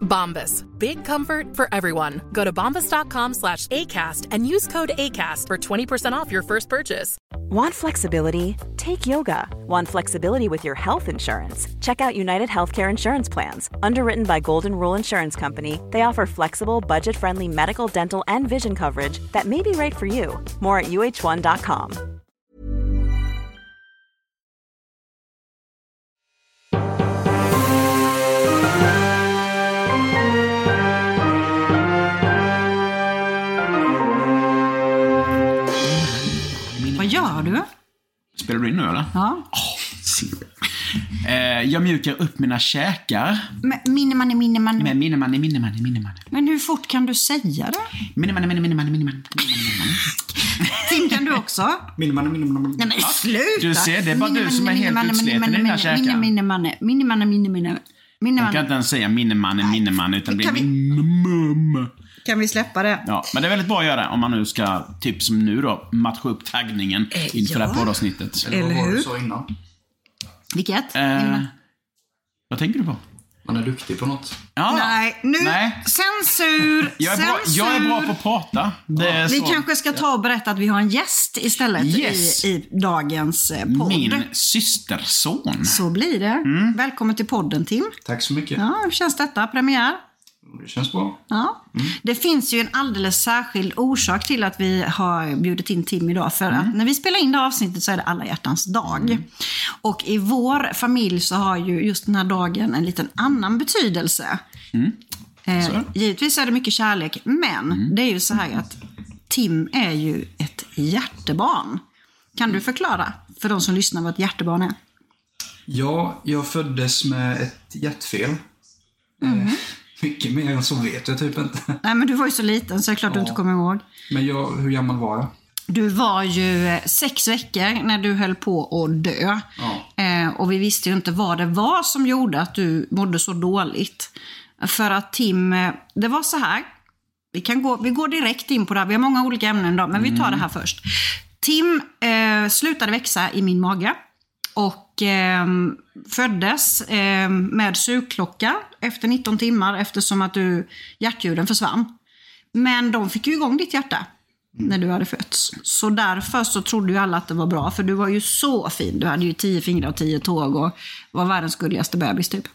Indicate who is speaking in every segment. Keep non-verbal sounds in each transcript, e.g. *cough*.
Speaker 1: Bombas. Big comfort for everyone. Go to bombas.com slash ACAST and use code ACAST for 20% off your first purchase.
Speaker 2: Want flexibility? Take yoga. Want flexibility with your health insurance? Check out United Healthcare Insurance Plans. Underwritten by Golden Rule Insurance Company, they offer flexible, budget friendly medical, dental, and vision coverage that may be right for you. More at uh1.com.
Speaker 3: Vad gör du?
Speaker 4: Spelar du in nu eller?
Speaker 3: Ja.
Speaker 4: Eh, jag mjukar upp mina käkar
Speaker 3: Men, minnemanne, minnemanne.
Speaker 4: med
Speaker 3: Men,
Speaker 4: minnemanne, minnemanne, minnemanne.
Speaker 3: hur fort kan du säga det?
Speaker 4: Minnemanne, minnemanne, minnemanne, minnemanne.
Speaker 3: Fin kan du också?
Speaker 4: Minnemanne, minnemanne.
Speaker 3: Nej men sluta!
Speaker 4: Du ser, det är bara du som är helt
Speaker 3: Minnemanne,
Speaker 4: utsliten i
Speaker 3: minnemanne,
Speaker 4: dina käkar.
Speaker 3: Minnemanne, minnemanne, minnemanne,
Speaker 4: Jag kan
Speaker 3: minnemanne.
Speaker 4: inte ens säga minnemanne, minnemanne utan det blir
Speaker 3: Kan vi-
Speaker 4: minnemum.
Speaker 3: Kan vi släppa det?
Speaker 4: Ja, men det är väldigt bra att göra om man nu ska, typ som nu då, matcha upp taggningen inför det här
Speaker 3: Eh, ja. Eh,
Speaker 4: poddavsnittet.
Speaker 3: Eller
Speaker 5: Vad var det du
Speaker 3: hur?
Speaker 5: sa innan?
Speaker 3: Vilket?
Speaker 4: Eh,
Speaker 3: Minnemanne.
Speaker 4: vad tänker du på?
Speaker 5: Man är duktig på något.
Speaker 4: Ja,
Speaker 3: Nej, nu...
Speaker 4: Nej.
Speaker 3: Censur!
Speaker 4: *laughs* Jag är, bra,
Speaker 3: censur.
Speaker 4: jag är bra på att prata. Det är
Speaker 3: Vi
Speaker 4: så.
Speaker 3: kanske ska ta och berätta att vi har en gäst istället
Speaker 4: Yes.
Speaker 3: i, i dagens eh, podd.
Speaker 4: Min Mm. systerson.
Speaker 3: Så blir det. Välkommen till podden Tim.
Speaker 5: Tack så mycket.
Speaker 3: Ja, hur känns detta? Premiär?
Speaker 5: Det känns bra.
Speaker 3: Ja. Det finns ju en alldeles särskild orsak till att vi har bjudit in Tim idag. För att när vi spelar in det här avsnittet så är det alla hjärtans dag. Och i vår familj så har ju just den här dagen en liten annan betydelse. Eh, givetvis är det Mm. mycket kärlek, men det är ju så här att Tim är ju ett hjärtebarn. Kan du förklara för de som lyssnar vad ett hjärtebarn är?
Speaker 5: Ja, jag föddes med ett hjärtfel. Eh,
Speaker 3: Mhm.
Speaker 5: *laughs* mycket mer än så vet jag typ inte.
Speaker 3: Nej, men du var ju så liten så det är klart du inte kommer ihåg.
Speaker 5: Men jag, hur gammal var jag?
Speaker 3: Du var ju eh, sex veckor när du höll på att dö.
Speaker 5: Ja.
Speaker 3: Eh, och vi visste ju inte vad det var som gjorde att du mådde så dåligt. För att Tim, eh, det var så här. Vi, kan gå, vi går direkt in på det här. Vi har många olika ämnen idag, men vi tar det här först. Tim eh, slutade växa i min mage. Och eh, föddes eh, med sugklocka efter 19 timmar eftersom att du, hjärtljuden försvann. Men de fick ju igång ditt hjärta när du hade fötts. Så därför så trodde ju alla att det var bra, för du var ju så fin. Du hade ju tio fingrar och tio tåg och var världens gulligaste bebis typ.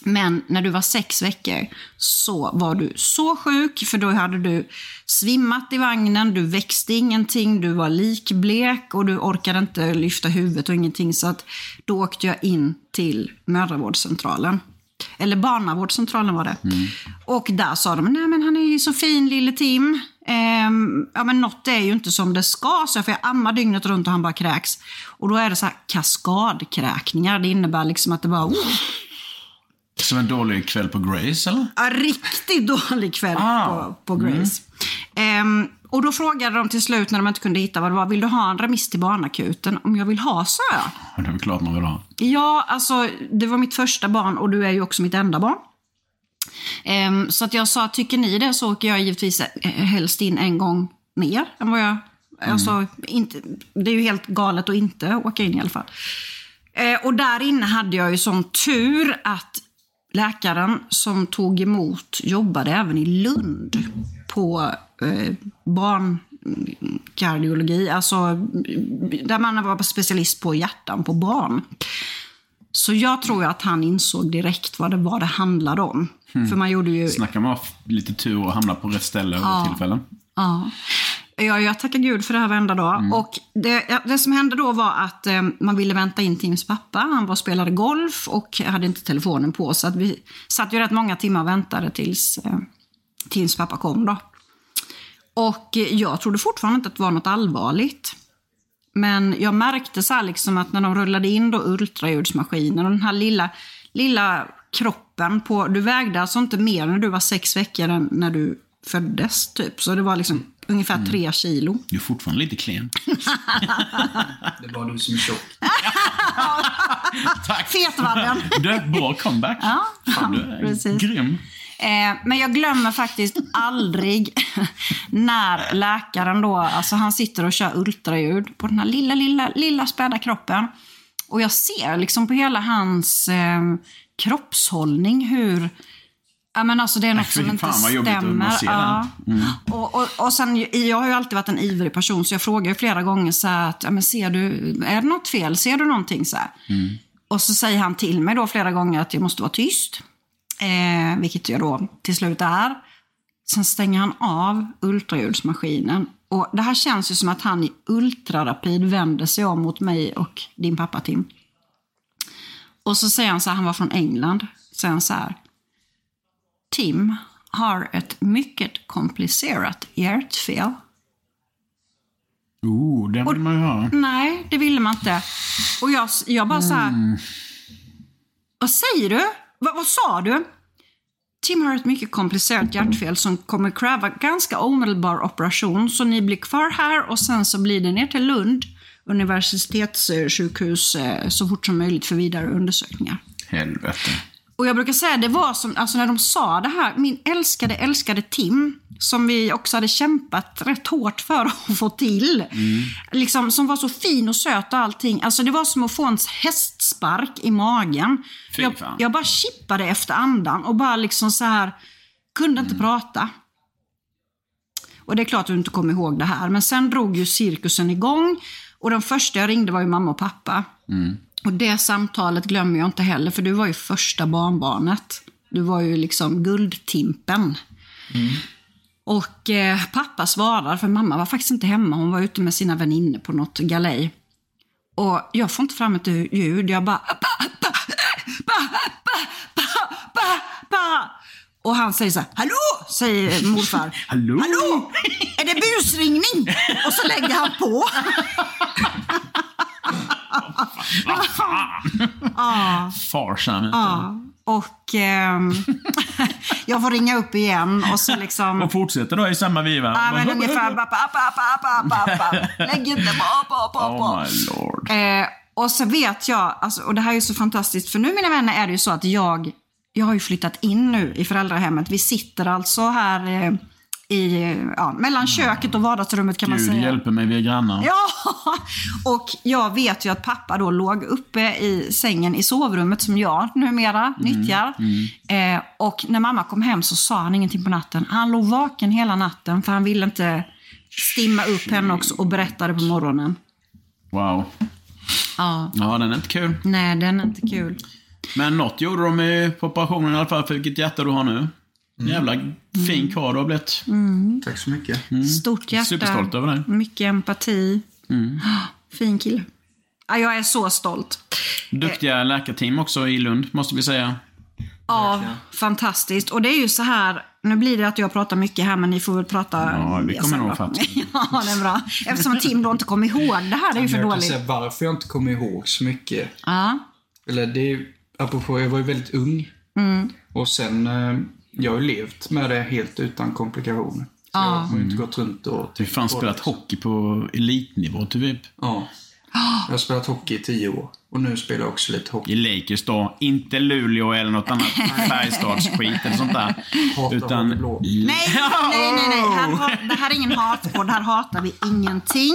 Speaker 3: Men när du var sex veckor så var du så sjuk, för då hade du svimmat i vagnen, du växte ingenting, du var likblek och du orkade inte lyfta huvudet och ingenting. Så att då åkte jag in till mödravårdscentralen. Eller barnavårdscentralen var det. Och där sa de, nej men han är ju så fin lille Tim. Ehm, ja men något är ju inte som det ska, så jag, för jag ammar dygnet runt och han bara kräks. Och då är det så här kaskadkräkningar. Det innebär liksom att det bara, oh,
Speaker 4: Som en dålig kväll på Grace, eller?
Speaker 3: Ja, riktigt *laughs* dålig kväll på, på Grace. Ehm, och då frågade de till slut när de inte kunde hitta vad det var. Vill du ha en remiss till barnakuten? Om jag vill ha, sa jag.
Speaker 4: Ja, Det är väl klart man vill ha.
Speaker 3: Ja, alltså det var mitt första barn och du är ju också mitt enda barn. Ehm, så att jag sa, tycker ni det så åker jag givetvis eh, helst in en gång mer än vad jag... Alltså, inte, det är ju helt galet att inte åka in i alla fall. Eh, och där inne hade jag ju sån tur att läkaren som tog emot jobbade även i Lund på eh, barnkardiologi, alltså mm, där man var specialist på hjärtan på barn. Så jag tror ju att han insåg direkt vad det var det handlade om. För man gjorde ju...
Speaker 4: Snackar man f- lite tur och hamnar på rätt ställe och tillfällen.
Speaker 3: Ja. Ja, jag tackar gud för det här varenda dag. Och det, ja, det som hände då var att eh, man ville vänta in Tims pappa. Han var och spelade golf och hade inte telefonen på. Så att vi satt ju rätt många timmar och väntade tills eh, Tims pappa kom. Då. Och eh, jag trodde fortfarande inte att det var något allvarligt. Men jag märkte så här liksom att när de rullade in då ultraljudsmaskinen och den här lilla, lilla kroppen på... Du vägde alltså inte mer när du var sex veckor än när du föddes. typ. Så det var liksom ungefär tre kilo.
Speaker 4: Du är fortfarande lite klen.
Speaker 5: Det var du som är tjock.
Speaker 4: Tack!
Speaker 3: Fetvallen.
Speaker 4: Du, bra comeback.
Speaker 3: *laughs* Ja,
Speaker 4: Fan, du är
Speaker 3: precis.
Speaker 4: grym.
Speaker 3: Eh, men jag glömmer faktiskt aldrig *laughs* när läkaren då, alltså han sitter och kör ultraljud på den här lilla, lilla, lilla späda kroppen. Och jag ser liksom på hela hans eh, kroppshållning hur Ja, men alltså det är något
Speaker 4: fy
Speaker 3: som inte
Speaker 4: fan, vad jobbigt att
Speaker 3: stämmer.
Speaker 4: man ser Mm.
Speaker 3: ja. och, och, och sen, jag har ju alltid varit en ivrig person så jag frågar ju flera gånger så här att, ja, men ser du, är det något fel? Ser du någonting? Så här.
Speaker 4: Mm.
Speaker 3: Och så säger han till mig då flera gånger att jag måste vara tyst. Eh, vilket jag då till slut är. Sen stänger han av ultraljudsmaskinen. Och det här känns ju som att han i ultrarapid vänder sig om mot mig och din pappa Tim. Och så säger han så här, han var från England. Säger han så här. Tim har ett mycket komplicerat hjärtfel.
Speaker 4: Oh, den vill man ju höra.
Speaker 3: Nej, det ville man inte. Och jag, jag bara så här. Vad säger du? Vad- vad sa du? Tim har ett mycket komplicerat hjärtfel som kommer kräva ganska omedelbar operation. Så ni blir kvar här och sen så blir det ner till Lund universitetssjukhus eh, så fort som möjligt för vidare undersökningar.
Speaker 4: Helvete.
Speaker 3: Och jag brukar säga, det var som, alltså när de sa det här, min älskade, älskade Tim, som vi också hade kämpat rätt hårt för att få till, liksom, som var så fin och söt och allting. Alltså det var som att få en hästspark i magen.
Speaker 4: Fy
Speaker 3: Jag,
Speaker 4: fan.
Speaker 3: jag bara chippade efter andan och bara liksom så här, kunde
Speaker 4: Mm.
Speaker 3: inte prata. Och det är klart att du inte kommer ihåg det här, men sen drog ju cirkusen igång. Och den första jag ringde var ju mamma och pappa. Och det samtalet glömmer jag inte heller, för du var ju första barnbarnet. Du var ju liksom guldtimpen. Och eh, pappa svarar, för mamma var faktiskt inte hemma. Hon var ute med sina vänner på något galej. Och jag får inte fram ett ljud. Jag bara... "Appa, appa, appa, appa, appa, appa, appa." Och han säger så här, hallå, säger morfar.
Speaker 4: Hallå?
Speaker 3: hallå, är det busringning? Och så lägger han på.
Speaker 4: Vad fan! Farsan. vet du.
Speaker 3: Ja, och ehm, *laughs* jag får ringa upp igen och så liksom...
Speaker 4: Och fortsätter då i samma viva.
Speaker 3: Ja, men
Speaker 4: Bara-
Speaker 3: ungefär. Pappa, pappa, pappa, pappa. Lägg inte på, på, på,
Speaker 4: Oh
Speaker 3: på.
Speaker 4: my lord.
Speaker 3: Eh, och så vet jag, alltså, och det här är ju så fantastiskt, för nu mina vänner är det ju så att jag, jag har ju flyttat in nu i föräldrahemmet. Vi sitter alltså här eh, i, eh, ja, mellan köket och vardagsrummet kan man
Speaker 4: Gud
Speaker 3: säga.
Speaker 4: hjälper mig, vi är grannar.
Speaker 3: Ja, och jag vet ju att pappa då låg uppe i sängen i sovrummet som jag numera
Speaker 4: Mm,
Speaker 3: nyttjar. Eh, och när mamma kom hem så sa han ingenting på natten. Han låg vaken hela natten för han ville inte stimma upp henne också och berättade på morgonen.
Speaker 4: Wow.
Speaker 3: Ja.
Speaker 4: Ja, den är inte kul.
Speaker 3: Nej, den är inte kul.
Speaker 4: Men något gjorde de i på operationen i alla fall, för vilket hjärta du har nu. Jävla fin karl du har blivit.
Speaker 3: Mm.
Speaker 5: Tack så mycket.
Speaker 3: Stort hjärta.
Speaker 4: Mm. Superstolt över dig. Mm.
Speaker 3: Mycket empati. Fin kille. Ja, jag är så stolt.
Speaker 4: Duktiga läkarteam också i Lund, måste vi säga.
Speaker 3: Ja, fantastiskt. Och det är ju så här, nu blir det att jag pratar mycket här men ni får väl prata
Speaker 4: Ja, vi
Speaker 3: mer
Speaker 4: kommer
Speaker 3: sen
Speaker 4: nog
Speaker 3: då.
Speaker 4: fatta.
Speaker 3: *laughs* Ja, det är bra. Eftersom Tim då inte kom ihåg det här, det är ju för
Speaker 5: Jag kan
Speaker 3: dåligt.
Speaker 5: säga varför jag inte kommer ihåg så mycket.
Speaker 3: Ja,
Speaker 5: Eller det är apropå, jag var ju väldigt ung.
Speaker 3: Mm.
Speaker 5: Och sen, eh, jag har ju levt med det helt utan komplikationer. Så jag har ju inte
Speaker 3: Mm.
Speaker 5: gått runt och... typ-
Speaker 4: Du har fan spelat hockey på elitnivå, typ.
Speaker 3: *gasps*
Speaker 5: Ja. Jag har spelat hockey i tio år. Och nu spelar jag också lite hockey.
Speaker 4: I Lakers då. Inte Luleå eller
Speaker 3: *laughs*
Speaker 4: något annat Färjestadsskit eller sånt där.
Speaker 5: Hatar
Speaker 4: Utan...
Speaker 5: hockey blå.
Speaker 4: *laughs*
Speaker 3: nej, nej, nej, nej. Här, har- det här är ingen hatpodd, här hatar vi ingenting.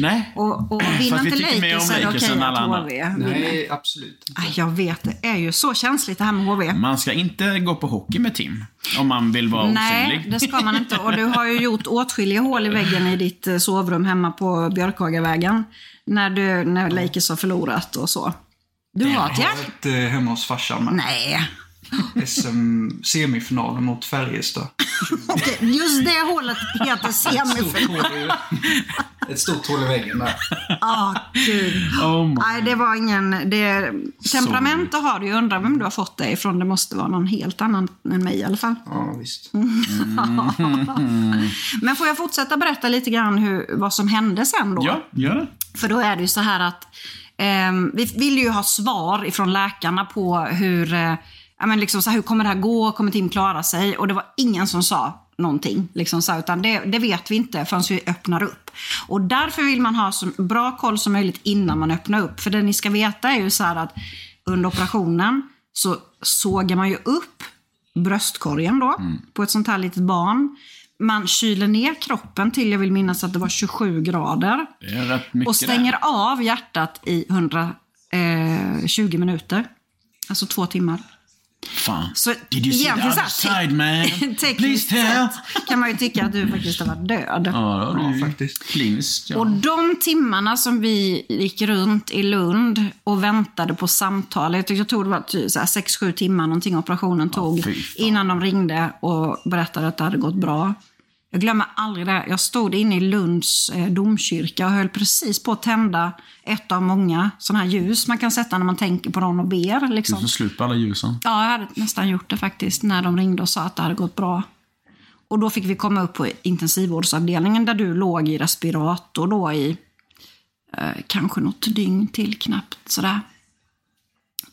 Speaker 4: Nej.
Speaker 3: Och, och vinner
Speaker 4: Fast vi
Speaker 3: inte
Speaker 4: tycker mer
Speaker 3: Lakers
Speaker 4: om
Speaker 3: är det
Speaker 4: Lakers
Speaker 3: okej
Speaker 4: än alla
Speaker 3: att
Speaker 4: andra.
Speaker 3: HV vinner.
Speaker 5: Nej, absolut inte.
Speaker 3: Aj, Jag vet, det är ju så känsligt det här med HV.
Speaker 4: Man ska inte gå på hockey med Tim. Om man vill vara
Speaker 3: Nej,
Speaker 4: osynlig.
Speaker 3: det ska man inte. Och du har ju gjort åtskilliga hål i väggen i ditt eh, sovrum hemma på Björkhagavägen. När, du, när Lakers har förlorat och så. Du har ett
Speaker 5: Jag
Speaker 3: hjärt...
Speaker 5: har varit eh, hemma hos farsan med.
Speaker 3: Nej.
Speaker 5: SM-semifinalen mot Färjestad.
Speaker 3: Okej, Just det hålet
Speaker 4: *laughs*
Speaker 3: heter
Speaker 5: Stort
Speaker 3: semifinal.
Speaker 5: hål i, ett stort hål i väggen där.
Speaker 3: Ah, gud.
Speaker 4: Oh my.
Speaker 3: Nej, det var ingen... Det, temperament det har du ju. Undrar vem du har fått det ifrån. Det måste vara någon helt annan än mig i alla fall.
Speaker 5: *laughs* Ja, visst.
Speaker 3: Mm. Men får jag fortsätta berätta lite grann hur, vad som hände sen då?
Speaker 4: Ja, gör det.
Speaker 3: För då är det ju så här att ehm, vi vill ju ha svar ifrån läkarna på hur, eh, ja, men liksom så här, hur kommer det här gå? Kommer Tim klara sig? Och det var ingen som sa någonting. Liksom så, här, utan det, det vet vi inte förrän vi öppnar upp. Och därför vill man ha så bra koll som möjligt innan man öppnar upp. För det ni ska veta är ju så här att under operationen så sågar man ju upp bröstkorgen då,
Speaker 4: Mm.
Speaker 3: på ett sånt här litet barn. Man kyler ner kroppen till, jag vill minnas att det var 27 grader.
Speaker 4: Det är rätt mycket
Speaker 3: Och stänger
Speaker 4: där.
Speaker 3: av hjärtat i 120 minuter. Alltså två timmar.
Speaker 4: Fan.
Speaker 3: Så
Speaker 4: Did you see the
Speaker 3: egentligen
Speaker 4: other
Speaker 3: så här,
Speaker 4: side man?
Speaker 3: *laughs* Tekniskt
Speaker 4: Please tell.
Speaker 3: sett kan man ju tycka att du faktiskt har varit död.
Speaker 4: Ja, det har du ju.
Speaker 5: faktiskt.
Speaker 4: Kliniskt, ja.
Speaker 3: Och de timmarna som vi gick runt i Lund och väntade på samtal. Jag, tyckte, jag tror det var ty- så här sex sju timmar någonting operationen tog.
Speaker 4: fy fan.
Speaker 3: innan de ringde och berättade att det hade gått bra. Jag glömmer aldrig det. Jag stod inne i Lunds eh, domkyrka och höll precis på att tända ett av många sådana här ljus man kan sätta när man tänker på någon och ber.
Speaker 4: Du
Speaker 3: Liksom.
Speaker 4: som slut på alla ljusen.
Speaker 3: Ja, jag hade nästan gjort det faktiskt när de ringde och sa att det hade gått bra. Och då fick vi komma upp på intensivvårdsavdelningen där du låg i respirator då i eh, kanske något dygn till knappt sådär.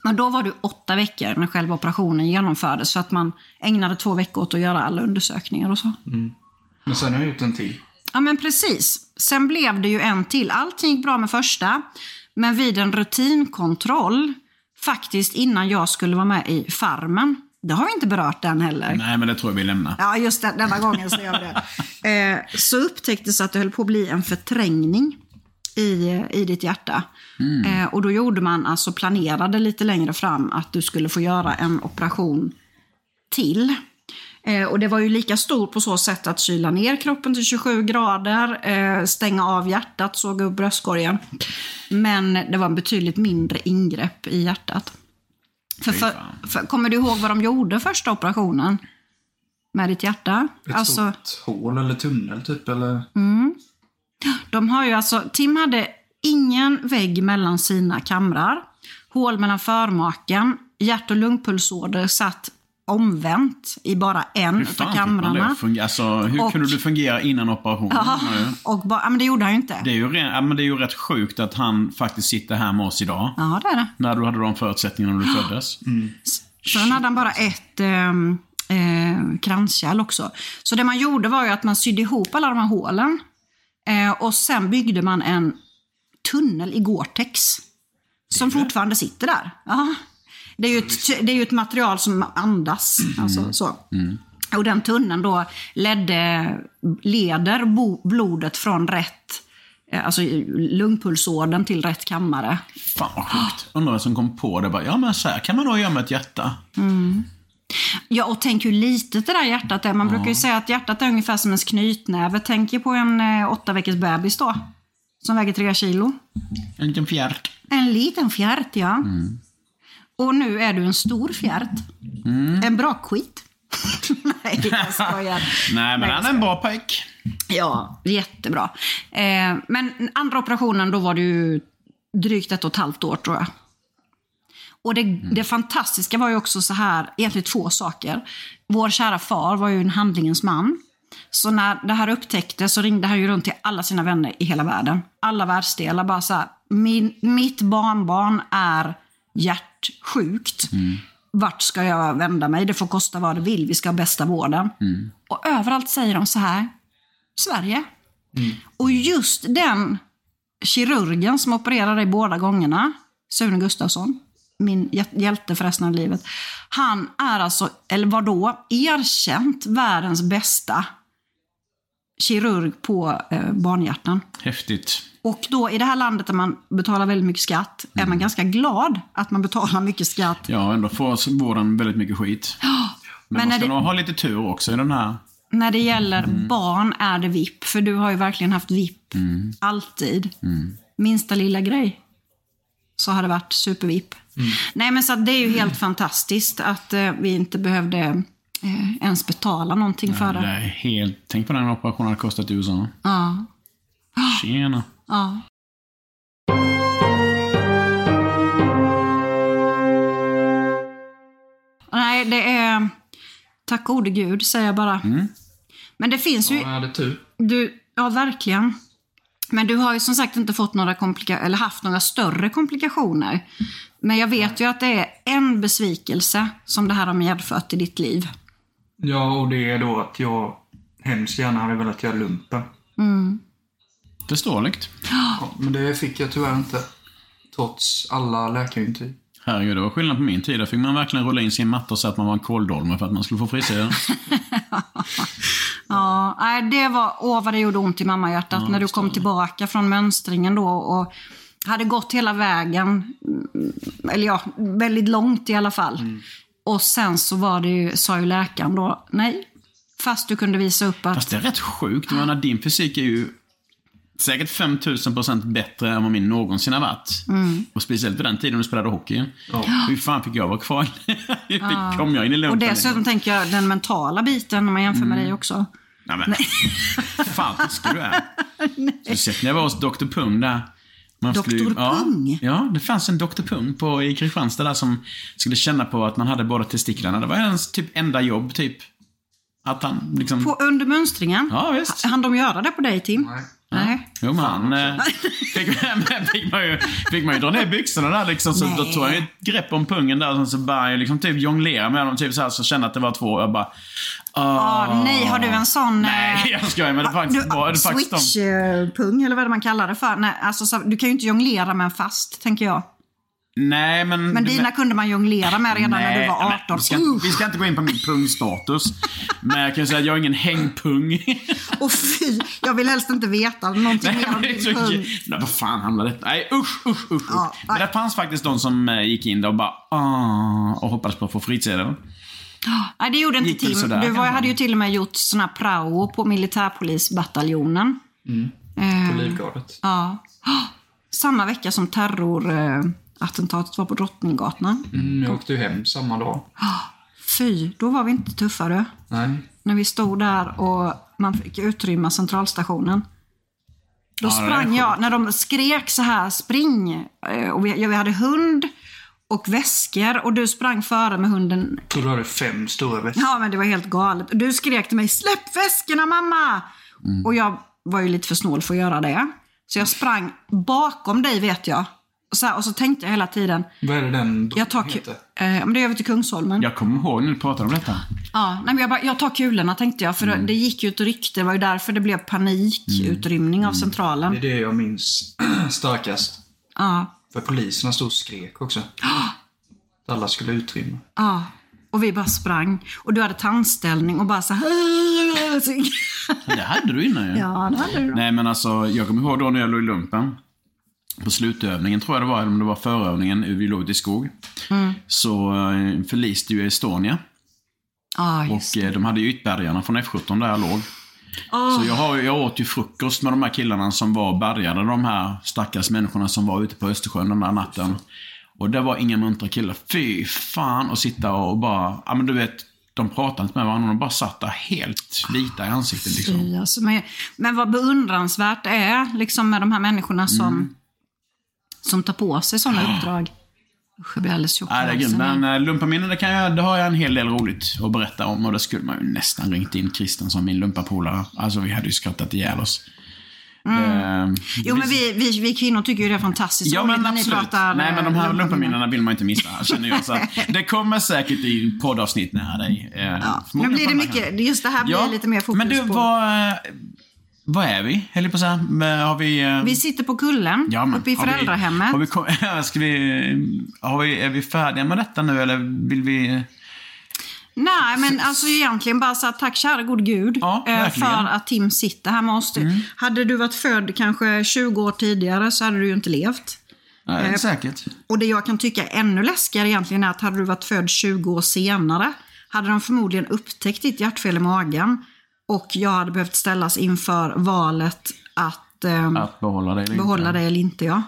Speaker 3: Men då var du åtta veckor när själva operationen genomfördes för att man ägnade två veckor åt att göra alla undersökningar och så.
Speaker 5: Men sen har jag gjort en till.
Speaker 3: Ja, men precis. Sen blev det ju en till. Allting gick bra med första, men vid en rutinkontroll, faktiskt innan jag skulle vara med i Farmen, det har vi inte berört den heller.
Speaker 4: Nej, men det tror jag vi lämnar.
Speaker 3: Ja, just den, denna gången så gör vi det. Eh, så upptäcktes att det höll på att bli en förträngning i, i ditt hjärta. Eh, och då gjorde man, alltså planerade lite längre fram att du skulle få göra en operation till. Eh, och det var ju lika stor på så sätt att kyla ner kroppen till 27 grader, eh, stänga av hjärtat, såga upp bröstkorgen. Men det var en betydligt mindre ingrepp i hjärtat. För, för, för, kommer du ihåg vad de gjorde första operationen? Med ditt hjärta?
Speaker 5: Ett
Speaker 3: Alltså, Mm.
Speaker 5: stort hål eller tunnel typ. Eller...
Speaker 3: de har ju alltså, Tim hade ingen vägg mellan sina kamrar, hål mellan förmaken, hjärt och lungpulsåder satt omvänt i bara en
Speaker 4: Hur
Speaker 3: utav
Speaker 4: fan fick man det
Speaker 3: kamrarna.
Speaker 4: att fungera? Alltså, hur
Speaker 3: Och-
Speaker 4: kunde du fungera innan operationen? undrar jag.
Speaker 3: Och bara, ja, men det gjorde han ju inte.
Speaker 4: Det är, ju ren, ja, men det är ju rätt sjukt att han faktiskt sitter här med oss idag.
Speaker 3: Ja, Mm. det är det.
Speaker 4: När du hade de förutsättningarna
Speaker 3: *gasps*
Speaker 4: när du föddes.
Speaker 3: Sen hade han bara ett ehm, eh, kranskärl också. Så det man gjorde var ju att man sydde ihop alla de här hålen. Eh, och sen byggde man en tunnel i Gore-Tex. Som fortfarande sitter där. Ja. Det är ju ett, det är ju ett material som andas. Alltså, så. Och den tunneln då ledde, leder bo, blodet från rätt, eh, alltså lungpulsådern till rätt kammare.
Speaker 4: Fan vad sjukt. Undrar vem som kom på det. Bara, ja men så här kan man nog göra med ett hjärta.
Speaker 3: Ja, och tänk hur litet det där hjärtat är. Man brukar ju säga att hjärtat är ungefär som ens knytnäve. Tänk er på en eh, åtta veckors bebis då, som väger tre kilo.
Speaker 4: En liten fjärt.
Speaker 3: En liten fjärt, ja. Och nu är du en stor fjärt. En bra skit. *laughs* Nej, jag skojar.
Speaker 4: Nej men han är en bra pojk.
Speaker 3: Ja, jättebra. Eh, men andra operationen, då var det ju drygt ett och ett halvt år tror jag. Och det, det fantastiska var ju också så här, egentligen två saker. Vår kära far var ju en handlingens man. Så när det här upptäcktes så ringde han ju runt till alla sina vänner i hela världen. Alla världsdelar bara så här, min, mitt barnbarn är hjärtsjukt. Vart ska jag vända mig? Det får kosta vad det vill. Vi ska ha bästa vården. Och överallt säger de så här, Sverige.
Speaker 4: Mm.
Speaker 3: Och just den kirurgen som opererade dig båda gångerna, Sune Gustafsson, min hjä- hjälte för resten av livet. Han är alltså, eller var då, erkänt världens bästa kirurg på eh, barnhjärtan.
Speaker 4: Häftigt.
Speaker 3: Och då i det här landet där man betalar väldigt mycket skatt, är
Speaker 4: Mm.
Speaker 3: man ganska glad att man betalar mycket skatt.
Speaker 4: Ja, ändå får oss vården väldigt mycket skit. Men,
Speaker 3: *gasps* Men
Speaker 4: man
Speaker 3: när
Speaker 4: ska
Speaker 3: det-
Speaker 4: nog ha lite tur också i den här.
Speaker 3: När det gäller barn är det VIP, för du har ju verkligen haft VIP. Alltid. Minsta lilla grej. Så har det varit super-VIP. Nej men så att det är ju helt fantastiskt att eh, vi inte behövde eh, ens betala någonting för
Speaker 4: Det
Speaker 3: det.
Speaker 4: är helt... Tänk på den operationen hade kostat i USA.
Speaker 3: Ja.
Speaker 4: *gasps* Tjena.
Speaker 3: ja. Nej, det är... Tack gode gud, säger jag bara. Men det finns ju
Speaker 5: Jag hade tur.
Speaker 3: Du, ja, verkligen. Men du har ju som sagt inte fått några komplika- eller haft några större komplikationer. Men jag vet ju att det är en besvikelse som det här har medfört i ditt liv.
Speaker 5: Ja, och det är då att jag hemskt gärna hade velat göra lumpen.
Speaker 4: Förståeligt.
Speaker 5: Ja, men det fick jag tyvärr inte. Trots alla läkarintyg.
Speaker 4: Herregud, det var skillnad på min tid. Där fick man verkligen rulla in sin matta så att man var en kåldolme för att man skulle få frisyr.
Speaker 3: *laughs* Ja, nej, det var, åh vad det gjorde ont i mammahjärtat när du kom tillbaka från mönstringen då och hade gått hela vägen, mm, eller ja, väldigt långt i alla fall. Och sen så var det ju, sa ju läkaren då, nej, fast du kunde visa upp att
Speaker 4: Fast det är rätt sjukt. Jag menar, din fysik är ju säkert 5000% bättre än vad min någonsin har varit.
Speaker 3: Mm.
Speaker 4: Och speciellt på den tiden du spelade hockey. Hur fan fick jag vara kvar? *laughs* Hur fick- kom jag in i
Speaker 3: Och
Speaker 4: lumpen?
Speaker 3: dessutom tänker jag den mentala biten när man jämför med
Speaker 4: Mm.
Speaker 3: dig också.
Speaker 4: Nej, men. *laughs* Fan, vad ska
Speaker 3: *laughs*
Speaker 4: du är. Så sett när jag var hos Dr. Pung där. Man
Speaker 3: Dr.
Speaker 4: ju- Ja,
Speaker 3: Pung?
Speaker 4: ja, det fanns en Dr. Pung på, i Kristianstad där som skulle känna på att man hade båda testiklarna. Det var hans typ enda jobb, typ. Att han liksom...
Speaker 3: På, under mönstringen,
Speaker 4: Ja, visst.
Speaker 3: hann de göra det på dig Tim?
Speaker 5: Nej.
Speaker 3: Nej.
Speaker 4: Jo, men han eh,
Speaker 3: *laughs*
Speaker 4: fick, *laughs* men fick, man ju, fick man ju dra ner byxorna där liksom. Så då
Speaker 3: Nej.
Speaker 4: tog jag ett grepp om pungen där och så började jag liksom typ jonglera med dem. Typ så här, så kände jag att det var två. Och jag bara... ah,
Speaker 3: Ja, nej, har du en sån...
Speaker 4: Nej, *laughs*
Speaker 3: eh,
Speaker 4: jag skojar. Men det var faktiskt, var, det
Speaker 3: ah,
Speaker 4: var faktiskt de.
Speaker 3: Switch-pung eller vad det man kallar det för. Nej, alltså, så, du kan ju inte jonglera med en fast, tänker jag.
Speaker 4: Nej, Mm, men...
Speaker 3: Men dina kunde man jonglera med redan när du var 18.
Speaker 4: men vi, ska,
Speaker 3: Usch,
Speaker 4: vi ska inte gå in på min pungstatus. men jag kan ju säga att jag är
Speaker 3: *laughs*
Speaker 4: ingen hängpung.
Speaker 3: och fy, jag vill helst inte veta någonting
Speaker 4: *laughs* Nej,
Speaker 3: mer om
Speaker 4: men det är
Speaker 3: din
Speaker 4: så-
Speaker 3: pung.
Speaker 4: Nej, vad fan handlar detta? Nej, usch, usch, usch.
Speaker 3: Ja,
Speaker 4: usch. Men det fanns faktiskt de som eh, gick in där och bara ah, och hoppades på att få frisedeln.
Speaker 3: Nej, det gjorde inte
Speaker 4: Gick väl
Speaker 3: Tim.
Speaker 4: sådär,
Speaker 3: Du var,
Speaker 4: kanske.
Speaker 3: hade ju till och med gjort såna här prao på militärpolisbataljonen.
Speaker 5: På Livgardet.
Speaker 3: Mm. Ja. Åh, Samma vecka som terrorattentatet var på Drottninggatan.
Speaker 5: Mm, jag åkte ju hem samma dag.
Speaker 3: Fy, då var vi inte tuffare.
Speaker 5: Nej.
Speaker 3: När vi stod där och man fick utrymma centralstationen. Då
Speaker 4: Ja, det är
Speaker 3: sprang
Speaker 4: sjukt.
Speaker 3: jag, när de skrek så här spring. eh, Och vi, ja, vi hade hund och väskor och du sprang före med hunden.
Speaker 5: Så då hade fem stora väskor.
Speaker 3: Ja men det var helt galet. Du skrek till mig, släpp väskorna mamma!
Speaker 4: Mm.
Speaker 3: Och jag var ju lite för snål för att göra det. Så jag sprang bakom dig vet jag. Och så, här, och så tänkte jag hela tiden,
Speaker 5: Vad är det den
Speaker 3: jag tar, ku-
Speaker 5: heter?
Speaker 3: eh, men det är över till Kungsholmen.
Speaker 4: Jag kommer ihåg när du pratade om detta.
Speaker 3: Ja, nej, men jag, bara, jag tar kulorna tänkte jag, för
Speaker 4: Mm.
Speaker 3: det- det gick ju ett rykte. Det var ju därför det blev panikutrymning
Speaker 4: Mm.
Speaker 3: av centralen.
Speaker 5: Det är det jag minns *clears throat* starkast.
Speaker 3: Ja,
Speaker 5: För poliserna stod och
Speaker 6: *gasps*
Speaker 5: skrek också. Alla skulle utrymma.
Speaker 3: ja. Och vi bara sprang. Och du hade tandställning och bara så här... *laughs* så-
Speaker 4: Det hade du innan ju.
Speaker 3: Ja, det hade du.
Speaker 4: Nej men alltså, jag kommer ihåg då när jag låg i lumpen. På slutövningen tror jag det var, eller om det var förövningen, vi låg ute i skog. Så eh, förliste ju Estonia.
Speaker 3: Ja, just
Speaker 4: Och eh, de hade ju ytbärgarna från F17 där jag låg. Så jag, har, ju- jag åt ju frukost med de här killarna som var bärgade, de här stackars människorna som var ute på Östersjön den där natten. Och det var inga muntra killar. Fy fan att sitta och bara, ja men du vet, de pratade inte med varandra, de bara satt där helt vita i ansiktet liksom.
Speaker 3: det. Alltså, men, men vad beundransvärt det är liksom, med de här
Speaker 4: Mm.
Speaker 3: människorna som, som tar på sig sådana uppdrag. Usch, jag blir alldeles Alltså, tjock i
Speaker 4: Ah. Nej, det är grymt.
Speaker 3: halsen nu.
Speaker 4: Men eh, lumparminnen, det, kan jag, det har jag en hel del roligt att berätta om. Och det skulle man ju nästan ringt in Kristen som min lumparpolare. Alltså, vi hade ju skrattat ihjäl oss. Eh,
Speaker 3: Jo, men vi, vi, vi kvinnor tycker ju det är fantastiskt
Speaker 4: Ja
Speaker 3: roligt
Speaker 4: men
Speaker 3: när ni
Speaker 4: absolut.
Speaker 3: pratar,
Speaker 4: Nej men
Speaker 3: eh,
Speaker 4: de här
Speaker 3: lumparminnen.
Speaker 4: lumparminnena vill man inte missa, känner jag. Så att
Speaker 3: *laughs*
Speaker 4: det kommer säkert i poddavsnitt nära dig. Eh,
Speaker 3: Nu
Speaker 4: förmodligen
Speaker 3: blir det
Speaker 4: på den här
Speaker 3: mycket, just det här blir
Speaker 4: Ja,
Speaker 3: lite mer fokus
Speaker 4: Men du,
Speaker 3: på.
Speaker 4: vad... eh, Vad är vi, höll jag på att säga. Men Har vi... eh,
Speaker 3: Vi sitter på kullen
Speaker 4: ja, men,
Speaker 3: uppe i
Speaker 4: har vi-
Speaker 3: föräldrahemmet.
Speaker 4: Har vi, kom- *laughs* ska vi, har vi, är vi färdiga med detta nu eller vill vi... eh,
Speaker 3: Nej, men alltså egentligen bara så här, tack kära god gud
Speaker 4: Ja,
Speaker 3: eh,
Speaker 4: verkligen. Mm.
Speaker 3: för att Tim sitter här med oss. Hade du varit född kanske 20 år tidigare så hade du ju inte levt.
Speaker 4: Nej,
Speaker 3: Eh,
Speaker 4: säkert.
Speaker 3: Och det jag kan tycka är ännu läskigare egentligen är att hade du varit född 20 år senare hade de förmodligen upptäckt ditt hjärtfel i magen och jag hade behövt ställas inför valet att, ehm,
Speaker 4: Att behålla dig eller inte.
Speaker 3: behålla dig eller inte. Ja.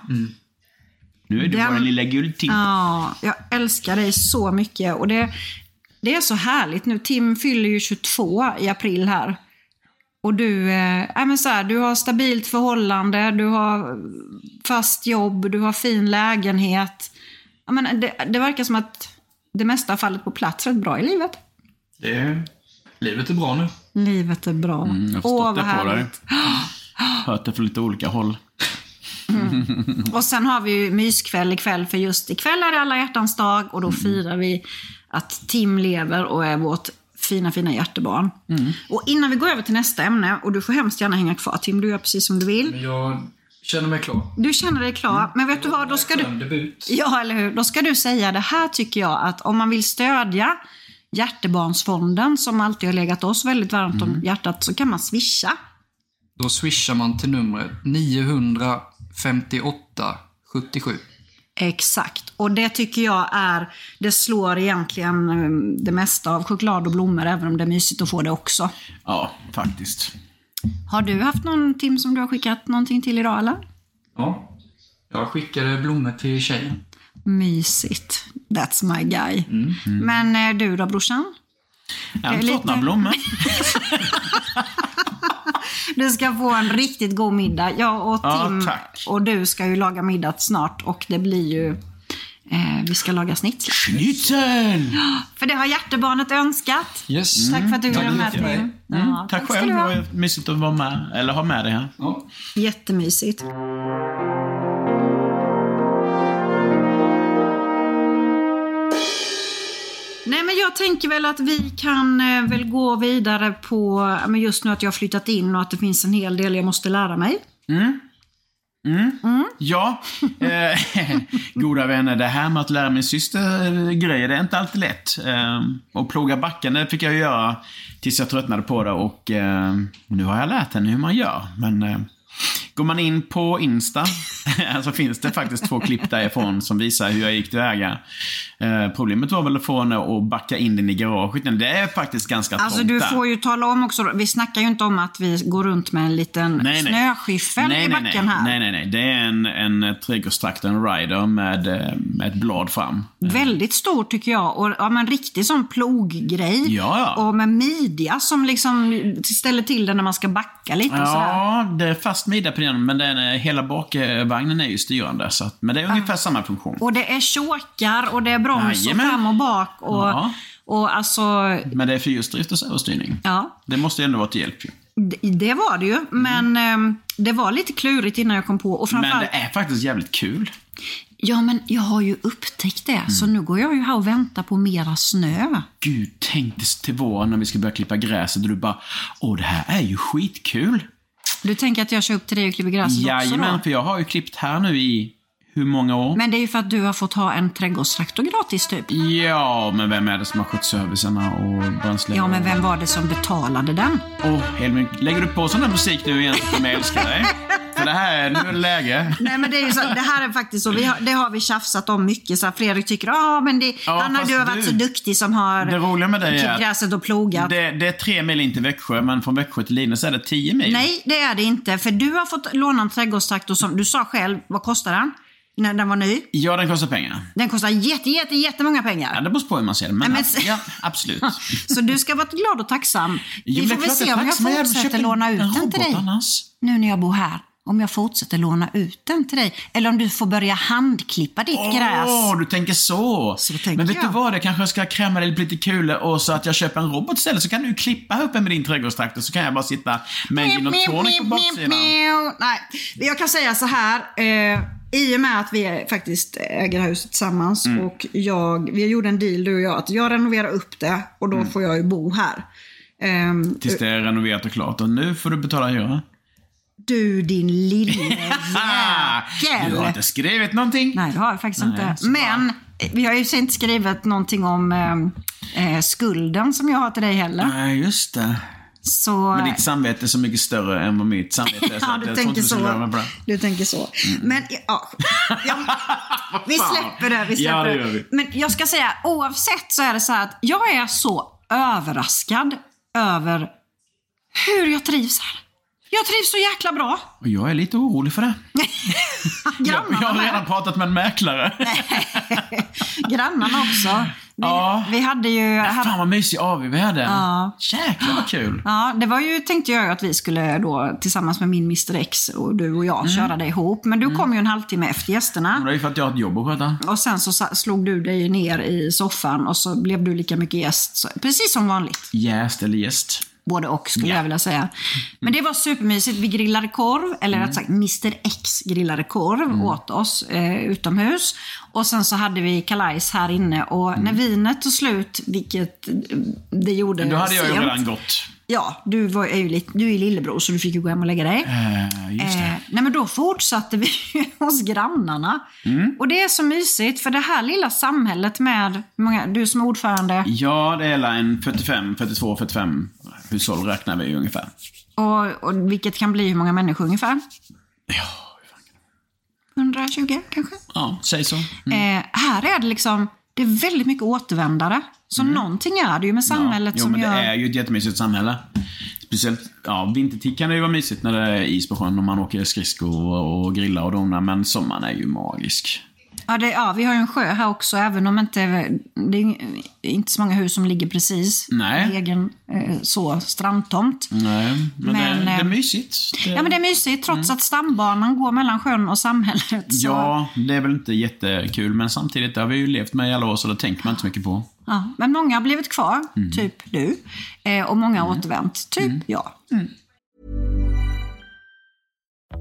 Speaker 4: Nu är du
Speaker 3: Den-
Speaker 4: vår lilla guldtipp.
Speaker 3: Ja, jag älskar dig så mycket. Och det, det är så härligt nu. Tim fyller ju 22 i april här. Och du, eh, nej men så här, du har stabilt förhållande, du har fast jobb, du har fin lägenhet. Ja, men det, det verkar som att det mesta har fallit på plats rätt bra i livet.
Speaker 5: Det är... Livet är bra nu.
Speaker 3: Livet är bra.
Speaker 4: Mm, Jag har
Speaker 3: Åh, vad
Speaker 4: förstått det på dig.
Speaker 3: härligt.
Speaker 4: Hört det från lite olika håll.
Speaker 3: Och sen har vi ju myskväll ikväll, för just ikväll är det alla hjärtans dag och då firar vi att Tim lever och är vårt fina, fina hjärtebarn. Och innan vi går över till nästa ämne, och du får hemskt gärna hänga kvar Tim, du gör precis som du vill.
Speaker 5: Men jag känner mig klar.
Speaker 3: Du känner dig klar, men vet du vad? Då ska du...
Speaker 5: En *laughs* debut.
Speaker 3: Ja, eller hur? Då ska du säga det här tycker jag att om man vill stödja Hjärtebarnsfonden som alltid har legat oss väldigt varmt om hjärtat så kan man swisha.
Speaker 5: Då swishar man till numret 958 77.
Speaker 3: Exakt. Och det tycker jag är, det slår egentligen eh, det mesta av choklad och blommor, även om det är mysigt att få det också.
Speaker 4: Ja, faktiskt.
Speaker 3: Har du haft någon Tim som du har skickat någonting till idag eller?
Speaker 5: Ja. Jag skickade blommor till tjejen.
Speaker 3: Mysigt. That's my guy.
Speaker 4: Mm-hmm.
Speaker 3: Men eh, du då brorsan? Eh,
Speaker 4: En
Speaker 3: lite-
Speaker 4: tröttna
Speaker 3: *laughs*
Speaker 4: blommor.
Speaker 3: Du ska få en riktigt god middag. Jag och
Speaker 4: Ja,
Speaker 3: Tim
Speaker 4: tack.
Speaker 3: och du ska ju laga middag snart och det blir ju, eh, vi ska laga snitsla.
Speaker 4: Schnitzel!
Speaker 3: För det har hjärtebarnet önskat.
Speaker 5: Yes.
Speaker 6: Mm.
Speaker 3: Tack för att du
Speaker 4: Mm.
Speaker 5: Tack
Speaker 3: ville vara med
Speaker 5: för mig.
Speaker 3: Tim. Ja,
Speaker 4: Tack
Speaker 3: ska
Speaker 4: själv,
Speaker 3: du
Speaker 4: det
Speaker 3: ha.
Speaker 4: var mysigt att vara med, eller ha med dig här.
Speaker 5: Ja.
Speaker 3: Jättemysigt. Nej men jag tänker väl att vi kan eh, väl gå vidare på, ja, men just nu att jag har flyttat in och att det finns en hel del jag måste lära mig.
Speaker 4: Ja,
Speaker 3: *laughs*
Speaker 4: eh, *laughs* goda vänner, det här med att lära min syster eh, grejer, det är inte alltid lätt. Eh, och ploga backen, det fick jag ju göra tills jag tröttnade på det och eh, nu har jag lärt henne hur man gör. Men eh, går man in på Insta *laughs* så finns det faktiskt två klipp därifrån som visar hur jag gick tillväga. Eh, problemet var väl att få henne att backa in den i garaget, men det är faktiskt ganska
Speaker 3: Alltså
Speaker 4: trångt
Speaker 3: du
Speaker 4: där.
Speaker 3: får ju tala om också, vi snackar ju inte om att vi går runt med en liten snöskyffel
Speaker 4: nej,
Speaker 3: i
Speaker 4: nej,
Speaker 3: backen
Speaker 4: nej.
Speaker 3: här.
Speaker 4: Nej, nej, nej. Det är en, en eh, trädgårdstraktor, en rider med, eh, med ett blad fram.
Speaker 3: Väldigt stor tycker jag och ja, men riktig sån ploggrej.
Speaker 4: Ja, ja.
Speaker 3: Och med midja som liksom ställer till det när man ska backa lite och sådär.
Speaker 4: Ja, det är fast midja på den, men den, eh, hela bakvagnen är ju styrande. Så att, men det är ungefär samma funktion.
Speaker 3: Och det är chåkar och det är broms och
Speaker 4: Jajamän.
Speaker 3: fram och bak och,
Speaker 4: Ja.
Speaker 3: och alltså,
Speaker 4: Men det är fyrhjulsdrift och överstyrning.
Speaker 3: ja.
Speaker 4: Det måste ju ändå vara till hjälp ju.
Speaker 3: Det, det var det ju, men ehm, det var lite klurigt innan jag kom på. Och
Speaker 4: Mm. Men
Speaker 3: framförallt,
Speaker 4: det är faktiskt jävligt kul.
Speaker 3: ja men jag har ju upptäckt det, så
Speaker 4: Mm.
Speaker 3: nu går jag ju här och väntar på mera snö.
Speaker 4: Gud, tänk dig till våren när vi ska börja klippa gräset och du bara Åh, det här är ju skitkul.
Speaker 3: Du tänker att jag kör upp till dig och klipper gräset också då?
Speaker 4: Jajamän, för jag har ju klippt här nu i hur många år?
Speaker 3: Men det är ju för att du har fått ha en trädgårdstraktor gratis typ.
Speaker 4: Ja, men vem är det som har skött servicerna och bränslet?
Speaker 3: Ja, men vem var det som betalade den?
Speaker 4: Åh, Helmin, lägger du på sån där musik nu igen som jag älskar dig? För det här är, nu är det läge.
Speaker 3: Nej, men det, är ju så, det här är faktiskt så, vi har, det har vi tjafsat om mycket. Så här, Fredrik tycker, ah, men det,
Speaker 4: Ja,
Speaker 3: han har
Speaker 4: fast
Speaker 3: du har
Speaker 4: du-
Speaker 3: varit så duktig som har
Speaker 4: Det roliga med dig är
Speaker 3: klippt
Speaker 4: att-
Speaker 3: gräset och plogat.
Speaker 4: Det, det är tre mil in till Växjö, men från Växjö till Linus är det tio mil.
Speaker 3: Nej, det är det inte. För du har fått låna en trädgårdstraktor som, du sa själv, vad kostar den? När den var ny.
Speaker 4: Ja, den kostar pengar.
Speaker 3: Den kostar jätte, jätte, jättemånga pengar.
Speaker 4: Ja, det beror på hur man ser det, men,
Speaker 3: Nej, men-
Speaker 4: ja, absolut.
Speaker 3: *laughs* Så du ska vara glad och tacksam.
Speaker 4: Jo,
Speaker 3: Vi
Speaker 4: men
Speaker 3: får väl
Speaker 4: klart
Speaker 3: se
Speaker 4: jag
Speaker 3: om jag
Speaker 4: tack, men jävlar, köp
Speaker 3: fortsätter
Speaker 4: en-
Speaker 3: låna ut
Speaker 4: en
Speaker 3: den till
Speaker 4: robot
Speaker 3: dig.
Speaker 4: Annars.
Speaker 3: nu när jag bor här, om jag fortsätter låna ut den till dig? Eller om du får börja handklippa ditt
Speaker 4: Åh,
Speaker 3: gräs?
Speaker 4: du tänker så.
Speaker 3: Så tänker
Speaker 4: men vet
Speaker 3: jag.
Speaker 4: du vad, det kanske jag ska kräma dig lite kulor och så att jag köper en robot istället så kan du klippa ihop en med din trädgårdstraktor så kan jag bara sitta med en gin och tonic på baksidan.
Speaker 3: Nej, jag kan säga så här. Eh, I och med att vi är- faktiskt äger det här huset tillsammans
Speaker 4: Mm.
Speaker 3: och jag, vi gjorde en deal du och jag att jag renoverar upp det och
Speaker 4: Mm.
Speaker 3: då får jag ju bo här. Ehm,
Speaker 4: Tills det är renoverat och klart. Och nu får du betala hyra.
Speaker 3: du din
Speaker 4: *laughs*
Speaker 3: lille
Speaker 4: Du har
Speaker 3: jäkel.
Speaker 4: inte skrivit någonting.
Speaker 3: Nej, det har jag faktiskt inte.
Speaker 4: så
Speaker 3: Men eh, vi har ju inte skrivit någonting om eh, eh, skulden som jag har till dig heller.
Speaker 4: Nej, just det.
Speaker 3: Så,
Speaker 4: Men ditt samvete är så mycket större än vad mitt samvete är.
Speaker 3: *laughs* Ja,
Speaker 4: att
Speaker 3: du
Speaker 4: jag tror
Speaker 3: tänker
Speaker 4: inte du
Speaker 3: så.
Speaker 4: ska göra mig på det.
Speaker 3: Du tänker så. Men ja,
Speaker 4: *laughs*
Speaker 3: ja, vi
Speaker 4: fan.
Speaker 3: släpper det. Vi släpper
Speaker 4: Ja, det gör vi.
Speaker 3: Men jag ska säga, oavsett så är det så här att jag är så överraskad över hur jag trivs här. Jag trivs så jäkla bra.
Speaker 4: Och jag är lite orolig för det. Jag, jag
Speaker 3: Grannarna,
Speaker 4: har
Speaker 3: med.
Speaker 4: redan pratat med en mäklare.
Speaker 3: Grannarna också. Vi,
Speaker 4: Ja.
Speaker 3: vi hade ju...
Speaker 4: Fan vad mysig AW vi hade.
Speaker 3: Ja.
Speaker 4: Jäklar vad kul.
Speaker 3: Ja, det var ju, tänkte jag ju att vi skulle då tillsammans med min Mr X och du och jag
Speaker 4: Mm.
Speaker 3: köra det ihop. Men du kom ju en halvtimme efter gästerna.
Speaker 4: Men det är ju för att jag har ett jobb att sköta.
Speaker 3: Och sen så sa- slog du dig ner i soffan och så blev du lika mycket gäst. Så, precis som vanligt.
Speaker 4: Jäst eller gäst.
Speaker 3: både och skulle jag vilja säga. Men det var supermysigt. Vi grillade korv, eller
Speaker 4: Mm.
Speaker 3: rätt sagt Mr X grillade korv åt oss eh, utomhus. Och sen så hade vi kalajs här inne och när vinet tog slut, vilket eh, det gjorde
Speaker 4: Mm. Men då hade jag ju
Speaker 3: sent-
Speaker 4: redan gått.
Speaker 3: Ja, du, var, är ju lite, du är ju lillebror så du fick ju gå hem och lägga dig.
Speaker 4: Eh, just det.
Speaker 3: Eh, nej men då fortsatte vi *laughs* hos grannarna.
Speaker 4: Mm.
Speaker 3: Och det är så mysigt för det här lilla samhället med, hur många, du som är ordförande,
Speaker 4: Ja, det är hela en 45, 42, 45 hushåll räknar vi ju ungefär.
Speaker 3: och, och vilket kan bli hur många människor ungefär?
Speaker 4: Ja, hur fan kan det-
Speaker 3: 120 kanske?
Speaker 4: ja säg så.
Speaker 3: Eh, här är det liksom, det är väldigt mycket återvändare. Så någonting är det ju med samhället
Speaker 4: Mm. ja. Jo,
Speaker 3: som
Speaker 4: men
Speaker 3: gör...
Speaker 4: det är ju ett jättemysigt samhälle. Speciellt, ja, vintertid kan det ju vara mysigt när det är is på sjön och man åker skridskor och, och grillar och donar, men sommaren är ju magisk.
Speaker 3: Ja, det, ja, vi har ju en sjö här också, även om inte, det är ju inte så många hus som ligger precis
Speaker 4: Nej.
Speaker 3: i egen eh, så, strandtomt.
Speaker 4: Nej, men,
Speaker 3: Men,
Speaker 4: det, det är
Speaker 3: eh,
Speaker 4: mysigt. Det-
Speaker 3: Ja, men det är mysigt trots att stambanan går mellan sjön och samhället. Så,
Speaker 4: Mm. Ja, det är väl inte jättekul, men samtidigt, det har vi ju levt med i alla år, så det tänker man inte så mycket på.
Speaker 3: ja. Men många har blivit kvar,
Speaker 4: Mm.
Speaker 3: typ du. Eh, och många har återvänt, typ jag.
Speaker 4: Mm.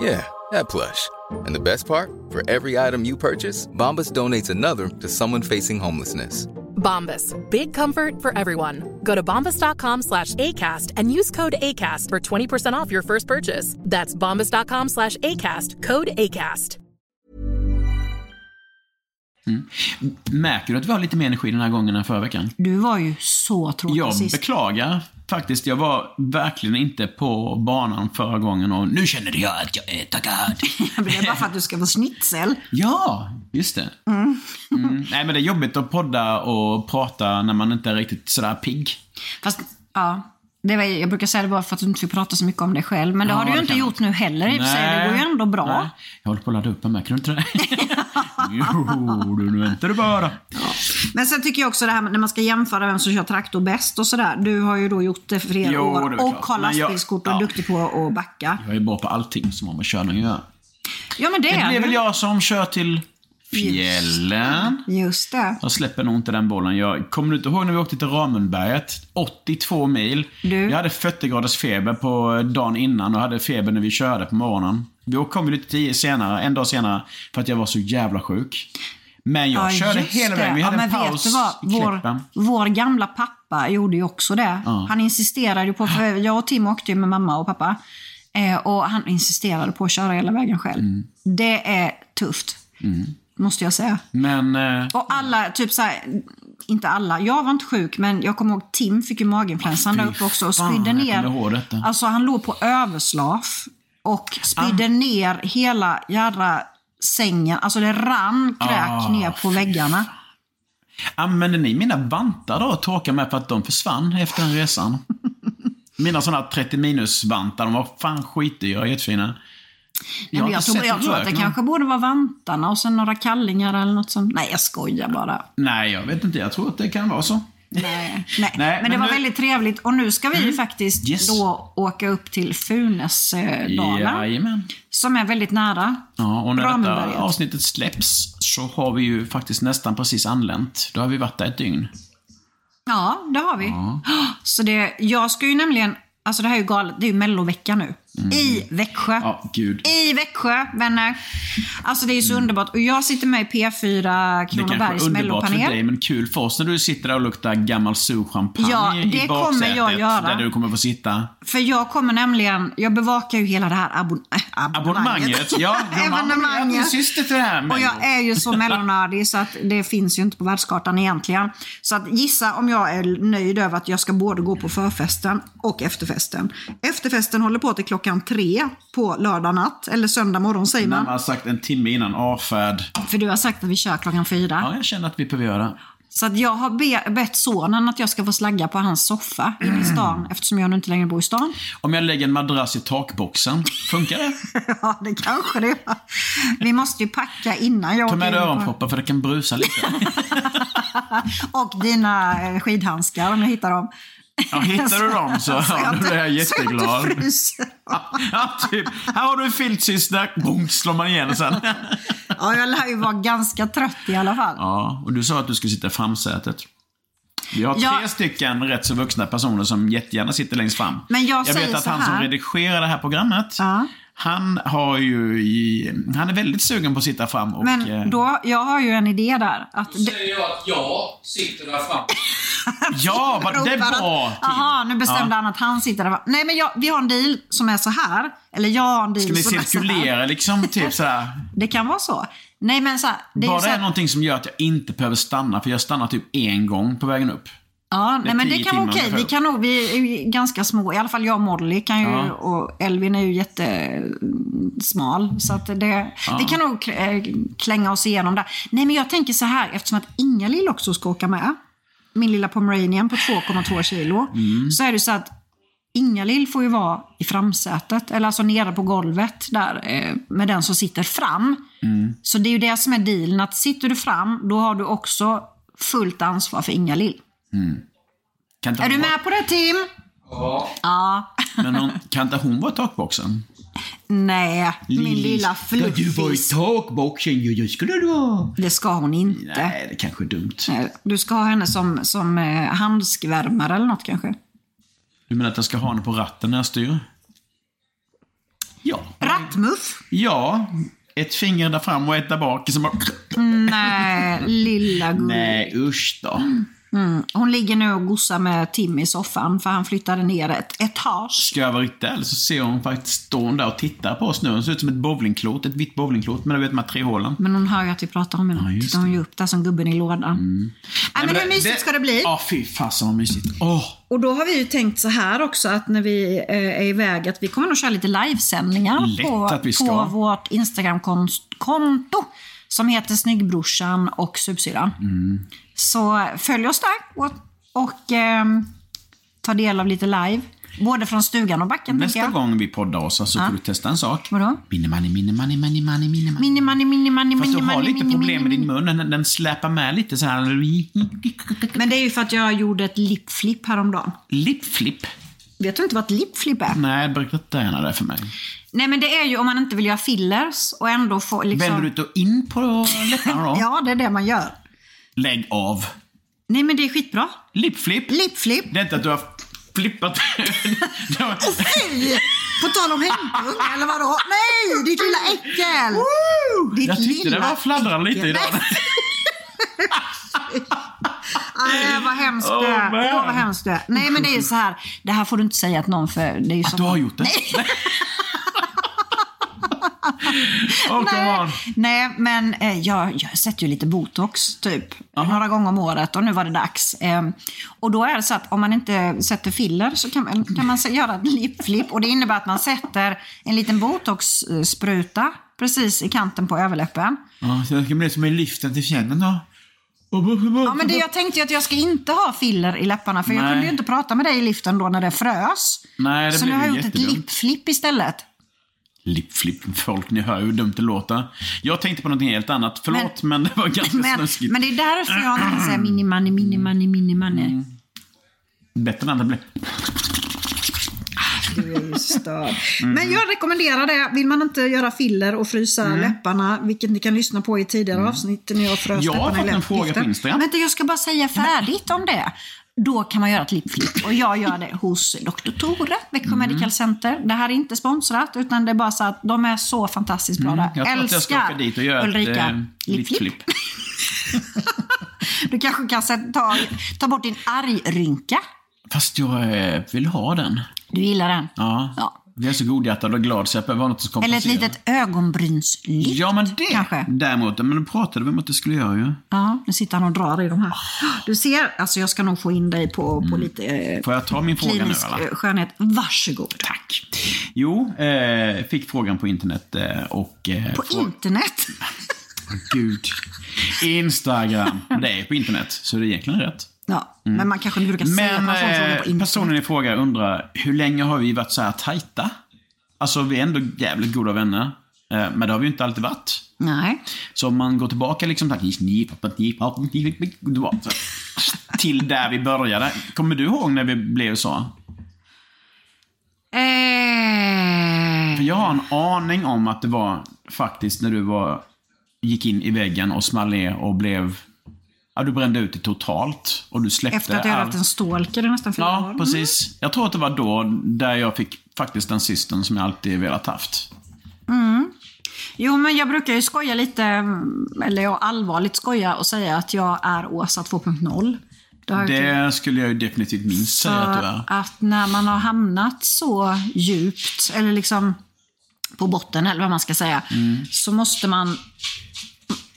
Speaker 7: Yeah, that plush. And the best part? For every item you purchase, Bombas donates another to someone facing homelessness.
Speaker 1: Bombas. Big comfort for everyone. Go to bombas.com slash ACAST and use code ACAST for 20% off your first purchase. That's bombas.com slash ACAST. Code ACAST.
Speaker 4: Märker du att vi har lite mer energi den här gången än förra veckan?
Speaker 3: Du var ju så tråkig
Speaker 4: Jag
Speaker 3: sist.
Speaker 4: beklagar faktiskt. Jag var verkligen inte på banan förra gången och nu känner jag att jag är taggad.
Speaker 3: *laughs* det är bara för att du ska vara schnitzel.
Speaker 4: ja, just det. Mm. Nej, men det är jobbigt att podda och prata när man inte är riktigt sådär pigg.
Speaker 3: Fast, ja. Det var, jag brukar säga det bara för att du inte får prata så mycket om dig själv. Men det
Speaker 4: Ja,
Speaker 3: har du ju
Speaker 4: det
Speaker 3: inte
Speaker 4: kan man.
Speaker 3: gjort nu heller i och för sig. Det går ju ändå bra.
Speaker 4: Nej. Jag håller på att ladda upp här med, kan du inte det?
Speaker 3: *laughs*
Speaker 4: jo, du, nu väntar du bara.
Speaker 3: Men sen tycker jag också det här med när man ska jämföra vem som kör traktor bäst och sådär. Du har ju då gjort det flera
Speaker 4: Jo, det är
Speaker 3: år
Speaker 4: väl
Speaker 3: och
Speaker 4: klart.
Speaker 3: har
Speaker 4: Men jag-
Speaker 3: lastbilskort och är
Speaker 4: ja.
Speaker 3: duktig på att backa.
Speaker 4: Jag är bra på allting som har med körning att göra.
Speaker 3: Ja men det,
Speaker 4: Det
Speaker 3: är
Speaker 4: blir
Speaker 3: du.
Speaker 4: väl jag som kör till fjällen.
Speaker 3: Just det.
Speaker 4: Jag släpper nog inte den bollen. Jag kommer du inte ihåg när vi åkte till Ramundberget? 82 mil.
Speaker 3: Du.
Speaker 4: Jag hade 40 graders feber på dagen innan och hade feber när vi körde på morgonen. Då kom vi lite tio senare, en dag senare, för att jag var så jävla sjuk. Men jag körde
Speaker 3: just
Speaker 4: hela
Speaker 3: det.
Speaker 4: vägen. Vi hade
Speaker 3: men
Speaker 4: en
Speaker 3: vet
Speaker 4: paus
Speaker 3: du vad?
Speaker 4: i
Speaker 3: Vår,
Speaker 4: Kläppen.
Speaker 3: vår gamla pappa gjorde ju också det. Han insisterade ju på, för jag och Tim åkte ju med mamma och pappa. Eh, och han insisterade på att köra hela vägen själv.
Speaker 4: Mm.
Speaker 3: Det är tufft. Måste jag säga.
Speaker 4: Men... Eh,
Speaker 3: Och alla, typ så här, inte alla, jag var inte sjuk men jag kommer ihåg Tim fick ju maginfluensan där uppe också och
Speaker 4: fan,
Speaker 3: spydde
Speaker 4: jag
Speaker 3: ner.
Speaker 4: kommer ihåg detta. Ah.
Speaker 3: Alltså han låg på överslaf och spydde ner hela jädra sängen. Alltså det rann kräk
Speaker 4: Ah,
Speaker 3: ner på väggarna.
Speaker 4: Använde ni mina vantar då att torka med för att de försvann efter den resan? *laughs* Mina sådana 30 minus-vantar, de var fan skitdyra och jättefina.
Speaker 3: Jag,
Speaker 4: har
Speaker 3: jag,
Speaker 4: inte
Speaker 3: tror,
Speaker 4: sett
Speaker 3: jag
Speaker 4: ett
Speaker 3: tror
Speaker 4: rök
Speaker 3: att det
Speaker 4: någon-
Speaker 3: kanske borde vara vantarna och sen några kallingar eller något sånt. Nej, jag skojar bara.
Speaker 4: Nej, jag vet inte. Jag tror att det kan vara så.
Speaker 3: Nej, nej.
Speaker 4: Nej,
Speaker 3: men,
Speaker 4: men
Speaker 3: det var
Speaker 4: nu- Mm.
Speaker 3: väldigt trevligt. Och nu ska vi ju faktiskt
Speaker 4: Yes.
Speaker 3: då åka upp till Funäsdalen.
Speaker 4: Jajamän.
Speaker 3: Som är väldigt nära.
Speaker 4: Ja, och när
Speaker 3: Ramberget.
Speaker 4: detta avsnittet släpps så har vi ju faktiskt nästan precis anlänt. Då har vi varit där ett dygn.
Speaker 3: Ja, det har vi. Så det, jag ska ju nämligen, alltså det här är ju galet, det är ju mellovecka nu. I Växjö.
Speaker 4: Mm. Ja, gud.
Speaker 3: I Växjö, vänner. Alltså det är ju så underbart. Och jag sitter med i P4
Speaker 4: Mm. Det kanske
Speaker 3: Kronobergs
Speaker 4: är underbart för dig,
Speaker 3: mellopanel.
Speaker 4: men kul för oss när du sitter där och luktar gammal sur champagne
Speaker 3: Ja, det
Speaker 4: i
Speaker 3: kommer
Speaker 4: baksätet.
Speaker 3: jag göra.
Speaker 4: Där du kommer få sitta.
Speaker 3: För jag kommer nämligen, jag bevakar ju hela det här abon- äh, abonnemanget.
Speaker 4: Abonnemanget. Ja, Jag är
Speaker 3: Evenemanget.
Speaker 4: din syster till det här.
Speaker 3: Och
Speaker 4: men-
Speaker 3: jag är ju så mellonördig så att det finns ju inte på världskartan egentligen. Så att gissa om jag är nöjd över att jag ska både gå på förfesten och efterfesten. Efterfesten håller på till klockan tre på lördag natt, eller söndag morgon säger man.
Speaker 4: Mamma har sagt en timme innan avfärd.
Speaker 3: För du har sagt att vi kör klockan fyra.
Speaker 4: Ja, jag känner att vi behöver göra det.
Speaker 3: Så att jag har be- bett sonen att jag ska få slagga på hans soffa inne
Speaker 4: Mm.
Speaker 3: i stan eftersom jag nu inte längre bor i stan. *laughs*
Speaker 4: Om jag lägger en madrass i takboxen, funkar det?
Speaker 3: Ja, det kanske det var. Vi måste ju packa innan jag
Speaker 4: Ta
Speaker 3: åker
Speaker 4: med dig
Speaker 3: in på-
Speaker 4: öronproppar för det kan brusa lite.
Speaker 3: Och dina eh, skidhandskar om jag hittar dem. *laughs*
Speaker 4: Ja, hittar du dem så,
Speaker 3: Så
Speaker 4: ja,
Speaker 3: Alltså, jag
Speaker 4: då blir Alltså, jag
Speaker 3: inte- Så jag
Speaker 4: jätteglad.
Speaker 3: inte fryser.
Speaker 4: Ja, typ. Här har du en filtsyster. Bonk, slår man igen och sen.
Speaker 3: Ja, jag lär ju vara ganska trött i alla fall.
Speaker 4: *laughs* Ja, och du sa att du skulle sitta i framsätet. Vi har tre
Speaker 3: Ja.
Speaker 4: stycken rätt så vuxna personer som jättegärna sitter längst fram.
Speaker 3: Men jag
Speaker 4: jag vet
Speaker 3: säger
Speaker 4: att
Speaker 3: så
Speaker 4: han som
Speaker 3: här.
Speaker 4: redigerar det här programmet,
Speaker 3: Ja.
Speaker 4: han har ju... i- Han är väldigt sugen på att sitta fram och... eh,
Speaker 3: Men då, jag har ju en idé där. Att
Speaker 6: Då säger jag att jag sitter där framme.
Speaker 4: ja, vad- det typ- är
Speaker 3: ropar
Speaker 4: bra!
Speaker 3: att- Jaha, nu bestämde han att han sitter där. Nej, men jag, vi har en deal som är så här. Eller jag har en deal
Speaker 4: Ska ni
Speaker 3: som är så här.
Speaker 4: cirkulera liksom, typ såhär?
Speaker 3: Det kan vara så. Nej, men så här, det är ju
Speaker 4: Bara
Speaker 3: så
Speaker 4: det
Speaker 3: här,
Speaker 4: är någonting som gör att jag inte behöver stanna, för jag stannar typ en gång på vägen upp.
Speaker 3: Ja, nej, men det
Speaker 4: tio
Speaker 3: kan vara
Speaker 4: timmar
Speaker 3: okej. Vi,
Speaker 4: ungefär.
Speaker 3: kan nog, vi är ju ganska små. I alla fall jag och Molly kan ju,
Speaker 4: Ja.
Speaker 3: och Elvin är ju jättesmal. Så att det, vi kan nog k- eh, klänga oss igenom där. Nej, men jag tänker så här, eftersom att Inga-Lill också ska åka med, min lilla pomeranian på 2,2 kilo,
Speaker 4: Mm.
Speaker 3: så är det så att Inga-Lill får ju vara i framsätet, eller alltså nere på golvet där eh, med den som sitter fram.
Speaker 4: Mm.
Speaker 3: Så det är ju det som är dealen, att sitter du fram, då har du också fullt ansvar för Inga-Lill.
Speaker 4: Kan inte
Speaker 3: Är du
Speaker 4: hon
Speaker 3: med på det Tim?
Speaker 6: Ja.
Speaker 3: Ja.
Speaker 4: Vara, men hon, kan inte hon vara i takboxen?
Speaker 3: Nej, min
Speaker 4: Lillis,
Speaker 3: lilla
Speaker 4: där Du var i
Speaker 3: fluffis.
Speaker 4: takboxen ju, det skulle du vara.
Speaker 3: Det ska hon inte.
Speaker 4: Nej, det kanske är dumt.
Speaker 3: Nej, Du ska ha henne som, som eh, handskvärmare eller något kanske.
Speaker 4: Du menar att jag ska ha henne på ratten när jag styr? Ja.
Speaker 3: Rattmuff?
Speaker 4: Ja. Ett finger där fram och ett där bak. Som bara...
Speaker 3: Nej, lilla gullig.
Speaker 4: Nej, usch då.
Speaker 3: Hon ligger nu och gossar med Tim i soffan för han flyttade ner ett etage.
Speaker 4: Ska jag vara riktigt ärlig så ser hon faktiskt stå hon där och tittar på oss nu. Hon ser ut som ett bowlingklot, ett vitt bowlingklot med du vet de här tre hålen.
Speaker 3: Men hon hör ju att vi pratar om henne.
Speaker 4: Ja, just
Speaker 3: Tittar hon ju upp där som gubben i lådan. Nej, men hur mysigt ska det bli?
Speaker 4: Ja, fy fasen vad mysigt. Åh!
Speaker 3: Och då har vi ju tänkt så här också att när vi eh, är iväg att vi kommer nog köra lite livesändningar
Speaker 4: Lätt
Speaker 3: på,
Speaker 4: att vi ska.
Speaker 3: på vårt Instagramkonto som heter Snyggbrorsan och Supsyran.
Speaker 4: Mm.
Speaker 3: Så följ oss där och, och ehm, ta del av lite live. Både från stugan och backen tänker
Speaker 4: Nästa
Speaker 3: jag.
Speaker 4: gång vi poddar oss så får du testa en sak.
Speaker 3: Vadå?
Speaker 4: Minimani, minimani, minimani, minimani.
Speaker 3: Mini, money, mini, money,
Speaker 4: Fast
Speaker 3: mini,
Speaker 4: du har
Speaker 3: money,
Speaker 4: lite
Speaker 3: mini,
Speaker 4: problem med
Speaker 3: mini,
Speaker 4: din mun. Den, den släpar med lite så här.
Speaker 3: Men det är ju för att jag gjorde ett lipflip häromdagen.
Speaker 4: Lipflip.
Speaker 3: Vet du inte vad ett lipflip är?
Speaker 4: Nej, berätta gärna det för mig.
Speaker 3: Liksom. Nej men det är ju om man inte vill göra fillers och ändå få liksom...
Speaker 4: Vänder du ut och in på läpparna då?
Speaker 3: *laughs* Ja, det är det man gör.
Speaker 4: Lägg av.
Speaker 3: Nej men det är skitbra.
Speaker 4: Lipflip.
Speaker 3: Lipflip.
Speaker 4: Det är inte att du har flippat. *laughs* Det var-
Speaker 3: Fy! På tal om hämndhund, eller vadå? Nej, ditt lilla äckel! Ditt
Speaker 4: Jag tyckte det var fladdrade lite idag.
Speaker 3: Nej, vad hemskt du
Speaker 4: Oh,
Speaker 3: är.
Speaker 4: man.
Speaker 3: Åh, vad hemskt du är. Nej, men det är ju så här. Det här får du inte säga att någon för... Det är ju så...
Speaker 4: Att du har gjort det.
Speaker 3: *laughs*
Speaker 4: Oh, come on.
Speaker 3: Nej, men eh, jag, jag sätter ju lite botox typ några gånger om året och nu var det dags. Eh, och då är det så att om man inte sätter filler så kan man, kan man se- göra ett lipflip och det innebär att man sätter en liten botoxspruta precis i kanten på överläppen.
Speaker 4: Ja, så det ska bli som i liften till fjällen då.
Speaker 3: Ja, men det, jag tänkte ju att jag ska inte ha filler i läpparna för jag
Speaker 4: Nej.
Speaker 3: kunde ju inte prata med dig i liften då när det frös.
Speaker 4: Nej, det
Speaker 3: så nu
Speaker 4: blev
Speaker 3: har jag
Speaker 4: ju
Speaker 3: gjort ett
Speaker 4: jättedumt.
Speaker 3: lipflip istället.
Speaker 4: Lipflip, folk, ni hör ju hur dumt det låter. Jag tänkte på någonting helt annat. Förlåt, men, det var ganska
Speaker 3: Men,
Speaker 4: snuskigt.
Speaker 3: men det är därför jag inte kan säga mini money, mini money, mini money.
Speaker 4: Bättre än att det blev...
Speaker 3: Du är ju
Speaker 4: *laughs*
Speaker 3: störd.
Speaker 4: Mm.
Speaker 3: Men jag rekommenderar det. Vill man inte göra filler och frysa
Speaker 4: Mm.
Speaker 3: läpparna, vilket ni kan lyssna på i tidigare avsnitt när jag frös
Speaker 4: Jag har
Speaker 3: läpparna i
Speaker 4: fått en
Speaker 3: läpp-
Speaker 4: fråga på
Speaker 3: giften.
Speaker 4: Instagram.
Speaker 3: Vänta, jag ska bara säga färdigt om det. Då kan man göra ett lipflip och jag gör det hos Dr. Tore, Växjö
Speaker 4: Mm.
Speaker 3: Medical Center. Det här är inte sponsrat utan det är bara så att de är så fantastiskt bra där.
Speaker 4: Mm, Jag tror att jag ska åka dit och göra ett
Speaker 3: Ulrika,
Speaker 4: eh,
Speaker 3: lipflip.
Speaker 4: lipflip.
Speaker 3: Du kanske kan sätta- ta, ta bort din argrynka.
Speaker 4: Fast jag eh, vill ha den.
Speaker 3: Du gillar den?
Speaker 4: Ja.
Speaker 3: Ja.
Speaker 4: Jag är så godhjärtad och glad så jag behöver ha något som
Speaker 3: Eller
Speaker 4: kompenserar.
Speaker 3: ett litet ögonbrynslyft
Speaker 4: Ja, men det
Speaker 3: kanske?
Speaker 4: däremot. Men då pratade vi om att det skulle göra ju.
Speaker 3: Ja, nu sitter han och drar i de här. Du ser, alltså jag ska nog få in dig på, på lite eh,
Speaker 4: Mm. Får jag ta min fråga nu
Speaker 3: klinisk
Speaker 4: eller?
Speaker 3: eh, skönhet. Varsågod. Tack.
Speaker 4: Jo, eh, fick frågan på internet eh, och... eh,
Speaker 3: På
Speaker 4: frå- *laughs*
Speaker 3: internet.
Speaker 4: Gud. Instagram. Det är på internet, så det är egentligen rätt.
Speaker 3: Ja, Men man kanske inte brukar säga
Speaker 4: Mm. Men
Speaker 3: att man får en fråga på
Speaker 4: eh,
Speaker 3: internet.
Speaker 4: personen i fråga undrar, hur länge har vi varit så här tajta? Alltså, vi är ändå jävligt goda vänner. Eh, Men det har vi ju inte alltid varit.
Speaker 3: Nej.
Speaker 4: Så om man går tillbaka liksom tack, ni- ni- ni- ni- ni- du var- så- till där vi började. Kommer du ihåg när vi blev så? För
Speaker 3: Eh,
Speaker 4: jag har en aning om att det var faktiskt när du var, gick in i väggen och small ner och blev... Ja, du brände ut det totalt. Och du släppte
Speaker 3: efter att jag hade
Speaker 4: all-
Speaker 3: haft en stalker i nästan fyra år.
Speaker 4: Ja,
Speaker 3: Mm.
Speaker 4: precis. Jag tror att det var då där jag fick faktiskt den systern som jag alltid velat haft.
Speaker 3: Jo, men jag brukar ju skoja lite, mm, eller jag allvarligt skoja och säga att jag är Åsa 2.0. Det har jag gjort.
Speaker 4: Det skulle jag ju definitivt minst säga att du
Speaker 3: För
Speaker 4: är.
Speaker 3: att när man har hamnat så djupt, eller liksom på botten eller vad man ska säga,
Speaker 4: Mm.
Speaker 3: så måste man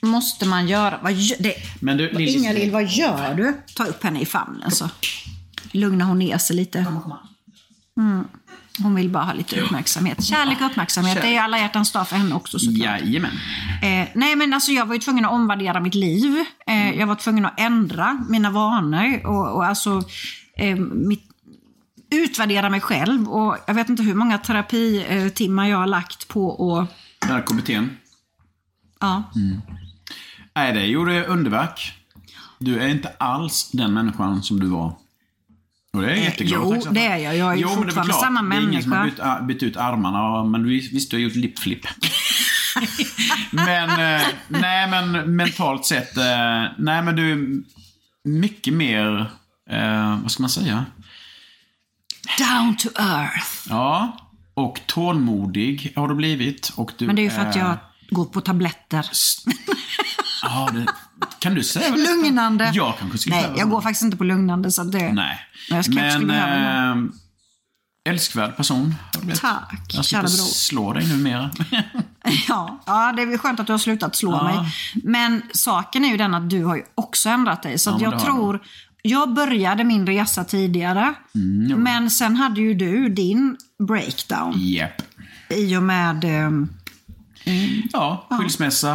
Speaker 3: Måste man göra... Vad gör, det,
Speaker 4: Men du, Lillis-
Speaker 3: Ingalill, vad gör du? Ta upp henne i famnen så lugnar hon ner sig lite. Mm. Hon vill bara ha lite uppmärksamhet. Kärlek och uppmärksamhet, det är ju alla hjärtans dag för henne också såklart.
Speaker 4: Jajamän.
Speaker 3: Eh, nej men alltså jag var ju tvungen att omvärdera mitt liv.
Speaker 4: Mm.
Speaker 3: Eh, jag var tvungen att ändra mina vanor och, och alltså eh, mitt, utvärdera mig själv. Och jag vet inte hur många terapitimmar jag har lagt på att...
Speaker 4: Den här KBT'n.
Speaker 3: Ja.
Speaker 4: Mm. Nej, det gjorde underverk. Du är inte alls den människan som du var. Och det är jag
Speaker 3: Eh,
Speaker 4: jätteglad
Speaker 3: jo,
Speaker 4: och tacksam för.
Speaker 3: det är jag. Jag är ju
Speaker 4: men det väl
Speaker 3: fortfarande
Speaker 4: klart.
Speaker 3: samma
Speaker 4: Det är ingen som har bytt,
Speaker 3: människa.
Speaker 4: ah, bytt ut armarna, men vi- visst, du har
Speaker 3: *laughs*
Speaker 4: gjort lipflip. men, eh, nej men mentalt sett, eh, nej men du är mycket mer, eh, vad ska man säga?
Speaker 3: Down to earth.
Speaker 4: Ja, och tålmodig har du blivit. Och du
Speaker 3: Men det är ju för att
Speaker 4: är-
Speaker 3: jag går på tabletter.
Speaker 4: *laughs* Ja, det, kan du säga vad det är?
Speaker 3: Lugnande.
Speaker 4: Jag kanske skulle
Speaker 3: Nej,
Speaker 4: säga vad
Speaker 3: jag
Speaker 4: det
Speaker 3: går
Speaker 4: är.
Speaker 3: faktiskt inte på lugnande. Så det...
Speaker 4: Nej.
Speaker 3: Men jag ska- kanske
Speaker 4: Men
Speaker 3: skulle behöva
Speaker 4: eh, älskvärd person. har du blivit.
Speaker 3: Tack,
Speaker 4: Jag ska
Speaker 3: kära
Speaker 4: inte
Speaker 3: bror.
Speaker 4: slå dig numera. *laughs*
Speaker 3: Ja, ja, det är väl skönt att du har slutat slå mig. Men saken är ju den att du har ju också ändrat dig. Så att
Speaker 4: men
Speaker 3: jag
Speaker 4: det har
Speaker 3: tror... Jag började min resa tidigare. men sen hade ju du din breakdown
Speaker 4: Japp.
Speaker 3: i och med... ehm,
Speaker 4: Ja, skilsmässa,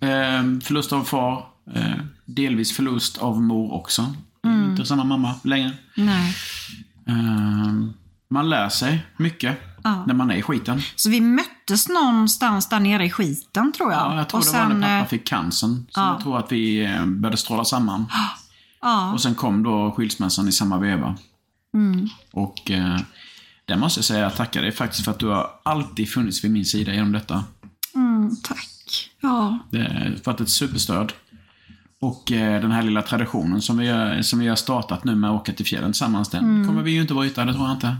Speaker 4: eh, förlust av far, eh, delvis förlust av mor också.
Speaker 3: Mm.
Speaker 4: Inte samma mamma längre.
Speaker 3: nej.
Speaker 4: Eh, man lär sig mycket när man är i skiten.
Speaker 3: Så vi möttes någonstans där nere i skiten tror jag.
Speaker 4: Ja, jag tror
Speaker 3: och
Speaker 4: det
Speaker 3: sen,
Speaker 4: var när
Speaker 3: eh,
Speaker 4: pappa fick cancern. Så jag tror att vi eh, började stråla samman. Och sen kom då skilsmässan i samma veva.
Speaker 3: Mm.
Speaker 4: Och eh, där måste jag säga jag tackar dig faktiskt för att du har alltid funnits vid min sida genom detta.
Speaker 3: Mm, tack. Ja.
Speaker 4: Det har varit Eh, ett superstöd. Och eh, den här lilla traditionen som vi, gör- som vi har startat nu med att åka till fjällen tillsammans, den
Speaker 3: Mm.
Speaker 4: kommer vi ju inte vara utan, det tror jag inte.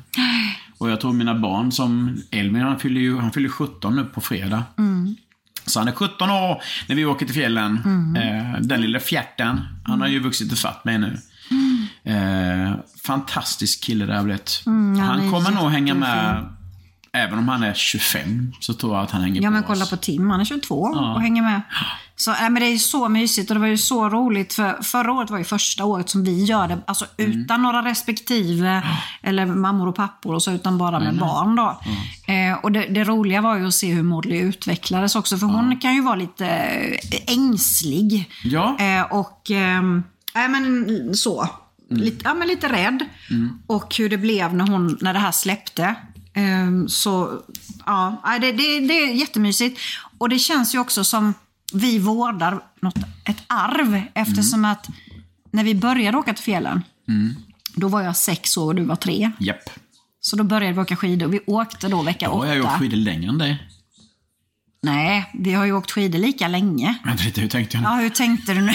Speaker 4: Och jag tror mina barn som Elvin, han fyller ju han fyller 17 nu på fredag.
Speaker 3: Mm.
Speaker 4: Så han är 17 år när vi åker till fjällen. Eh, den lilla fjärten, han har ju vuxit ifatt mig nu. Eh, fantastisk kille det har blivit.
Speaker 3: Mm. han
Speaker 4: han
Speaker 3: är
Speaker 4: kommer nog hänga med,
Speaker 3: jättefin.
Speaker 4: även om han är 25, så tror jag att han hänger
Speaker 3: Ja
Speaker 4: på
Speaker 3: men
Speaker 4: oss.
Speaker 3: kolla på Tim, han är 22 och hänger med. Så, nej, men det är ju så mysigt och det var ju så roligt. För förra året var ju första året som vi gör det, alltså
Speaker 4: Mm.
Speaker 3: utan några respektive, eller mammor och pappor och så, utan bara med barn då. Eh, och det, det roliga var ju att se hur Molly utvecklades också, för hon kan ju vara lite eh, ängslig.
Speaker 4: Ja.
Speaker 3: Eh, och, ehm, nej men så.
Speaker 4: Mm.
Speaker 3: Lite, ja, men lite rädd. Och hur det blev när, hon, när det här släppte. Ehm, så, ja, nej, det, det, det är jättemysigt. Och det känns ju också som vi vårdar något, ett arv eftersom
Speaker 4: Mm.
Speaker 3: att när vi började åka till fjällen, då var jag sex år och du var tre.
Speaker 4: Japp.
Speaker 3: Så då började vi åka skidor. Vi åkte då vecka
Speaker 4: Då har
Speaker 3: åtta.
Speaker 4: jag åkt skidor längre än dig.
Speaker 3: Nej, vi har ju åkt skidor lika länge.
Speaker 4: Vänta lite, hur tänkte jag nu?
Speaker 3: Ja, hur tänkte du nu?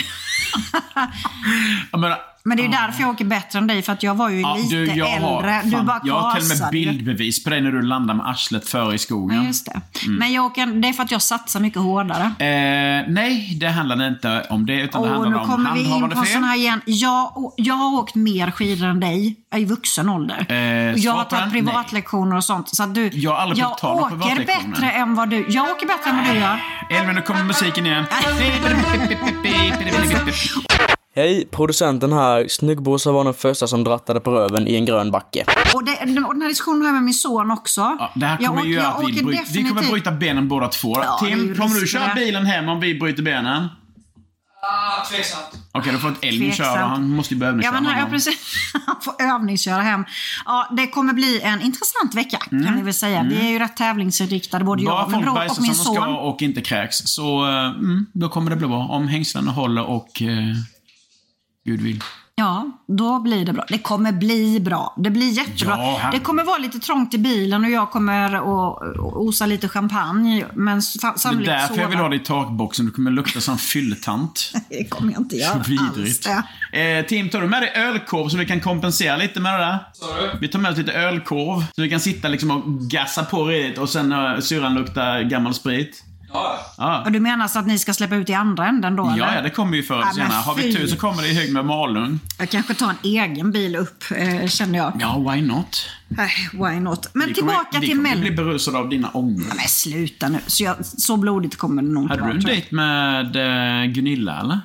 Speaker 4: Jag menar,
Speaker 3: Men det är ju därför jag åker bättre än dig, för att jag var ju
Speaker 4: ja,
Speaker 3: lite äldre. du
Speaker 4: fan,
Speaker 3: bara
Speaker 4: jag har till och med
Speaker 3: kasade ju.
Speaker 4: bildbevis på dig när du landar med arslet före i
Speaker 3: Ja,
Speaker 4: skogen.
Speaker 3: just det.
Speaker 4: Mm.
Speaker 3: Men jag åker, det är för att jag satsar mycket hårdare.
Speaker 4: Eh, nej, det handlade inte om det, utan det
Speaker 3: Åh, nu
Speaker 4: handlade om
Speaker 3: kommer vi in
Speaker 4: handhavande
Speaker 3: på
Speaker 4: fel.
Speaker 3: sån här igen. Jag, å- jag har åkt mer skidor än dig i vuxen ålder.
Speaker 4: Eh,
Speaker 3: Och jag har
Speaker 4: svar på den?
Speaker 3: tagit privatlektioner och sånt. Så att du,
Speaker 4: Jag har aldrig betalat
Speaker 3: åker
Speaker 4: privatlektioner.
Speaker 3: bättre än vad du Jag åker bättre än vad du gör.
Speaker 4: Elvin, nu kommer musiken igen.
Speaker 8: Hej, producenten här. Snyggbosa var den första som drattade på röven i en grön backe.
Speaker 3: Och, det, och den här diskussionen har jag med min son också.
Speaker 4: Ja, det här
Speaker 3: Jag
Speaker 4: kommer
Speaker 3: åker-
Speaker 4: ju göra
Speaker 3: jag
Speaker 4: att vi,
Speaker 3: åker
Speaker 4: bryt, vi kommer
Speaker 3: definitivt-
Speaker 4: bryta benen båda två.
Speaker 3: Ja, det är ju
Speaker 4: Tim, kommer du
Speaker 3: risk
Speaker 4: köra
Speaker 3: med det.
Speaker 4: bilen hem om vi bryter benen?
Speaker 6: Ah, tveksamt.
Speaker 4: Okej, då får ett Elm
Speaker 3: Tveksamt.
Speaker 4: köra. Han måste ju
Speaker 3: Ja,
Speaker 4: börja övningsköra.
Speaker 3: men här, ja,
Speaker 4: någon gång.
Speaker 3: precis. *laughs* Han får övningsköra hem. Ja, det kommer bli en intressant vecka kan vi väl säga. Vi är ju rätt tävlingsinriktade både
Speaker 4: Mm. Bara
Speaker 3: jag, min
Speaker 4: folk
Speaker 3: bror
Speaker 4: bajsar
Speaker 3: och
Speaker 4: som de
Speaker 3: min
Speaker 4: ska
Speaker 3: son.
Speaker 4: och inte kräks, så eh, mm, då kommer det bli bra. Om hängslena håller och eh, Gud vill.
Speaker 3: Ja, då blir det bra. Det kommer bli bra. Det blir jättebra.
Speaker 4: Ja, här-
Speaker 3: det kommer vara lite trångt i bilen och jag kommer att osa lite champagne. Men s-
Speaker 4: Det är
Speaker 3: sannolikt
Speaker 4: därför jag vill ha
Speaker 3: det.
Speaker 4: dig i takboxen. Du kommer lukta som fylltant.
Speaker 3: *laughs* Det kommer jag inte
Speaker 4: Så
Speaker 3: göra alls
Speaker 4: *laughs* vidrigt.
Speaker 3: det.
Speaker 4: Eh, Tim, tar du med dig ölkorv så vi kan kompensera lite med det där? Vi tar med oss lite ölkorv, så vi kan sitta liksom och gassa på redigt och sen eh, syrran lukta gammal sprit.
Speaker 3: Och du menar så att ni ska släppa ut i andra änden då?
Speaker 4: Ja,
Speaker 3: eller?
Speaker 4: ja, det kommer ju förr eller
Speaker 3: Ja, men
Speaker 4: senare. Har vi
Speaker 3: fy.
Speaker 4: tur så kommer det i hög med Malung.
Speaker 3: Jag kanske tar en egen bil upp, eh, känner jag.
Speaker 4: Ja, why not?
Speaker 3: Eh, Why not? Men
Speaker 4: Vi kommer-
Speaker 3: tillbaka
Speaker 4: vi
Speaker 3: till
Speaker 4: kommer
Speaker 3: Mello.
Speaker 4: bli berusade av dina ångor.
Speaker 3: Men sluta nu. Så, jag, så blodigt kommer det nog inte
Speaker 4: Hade du
Speaker 3: vara,
Speaker 4: en
Speaker 3: tror jag.
Speaker 4: dejt med eh, Gunilla, eller?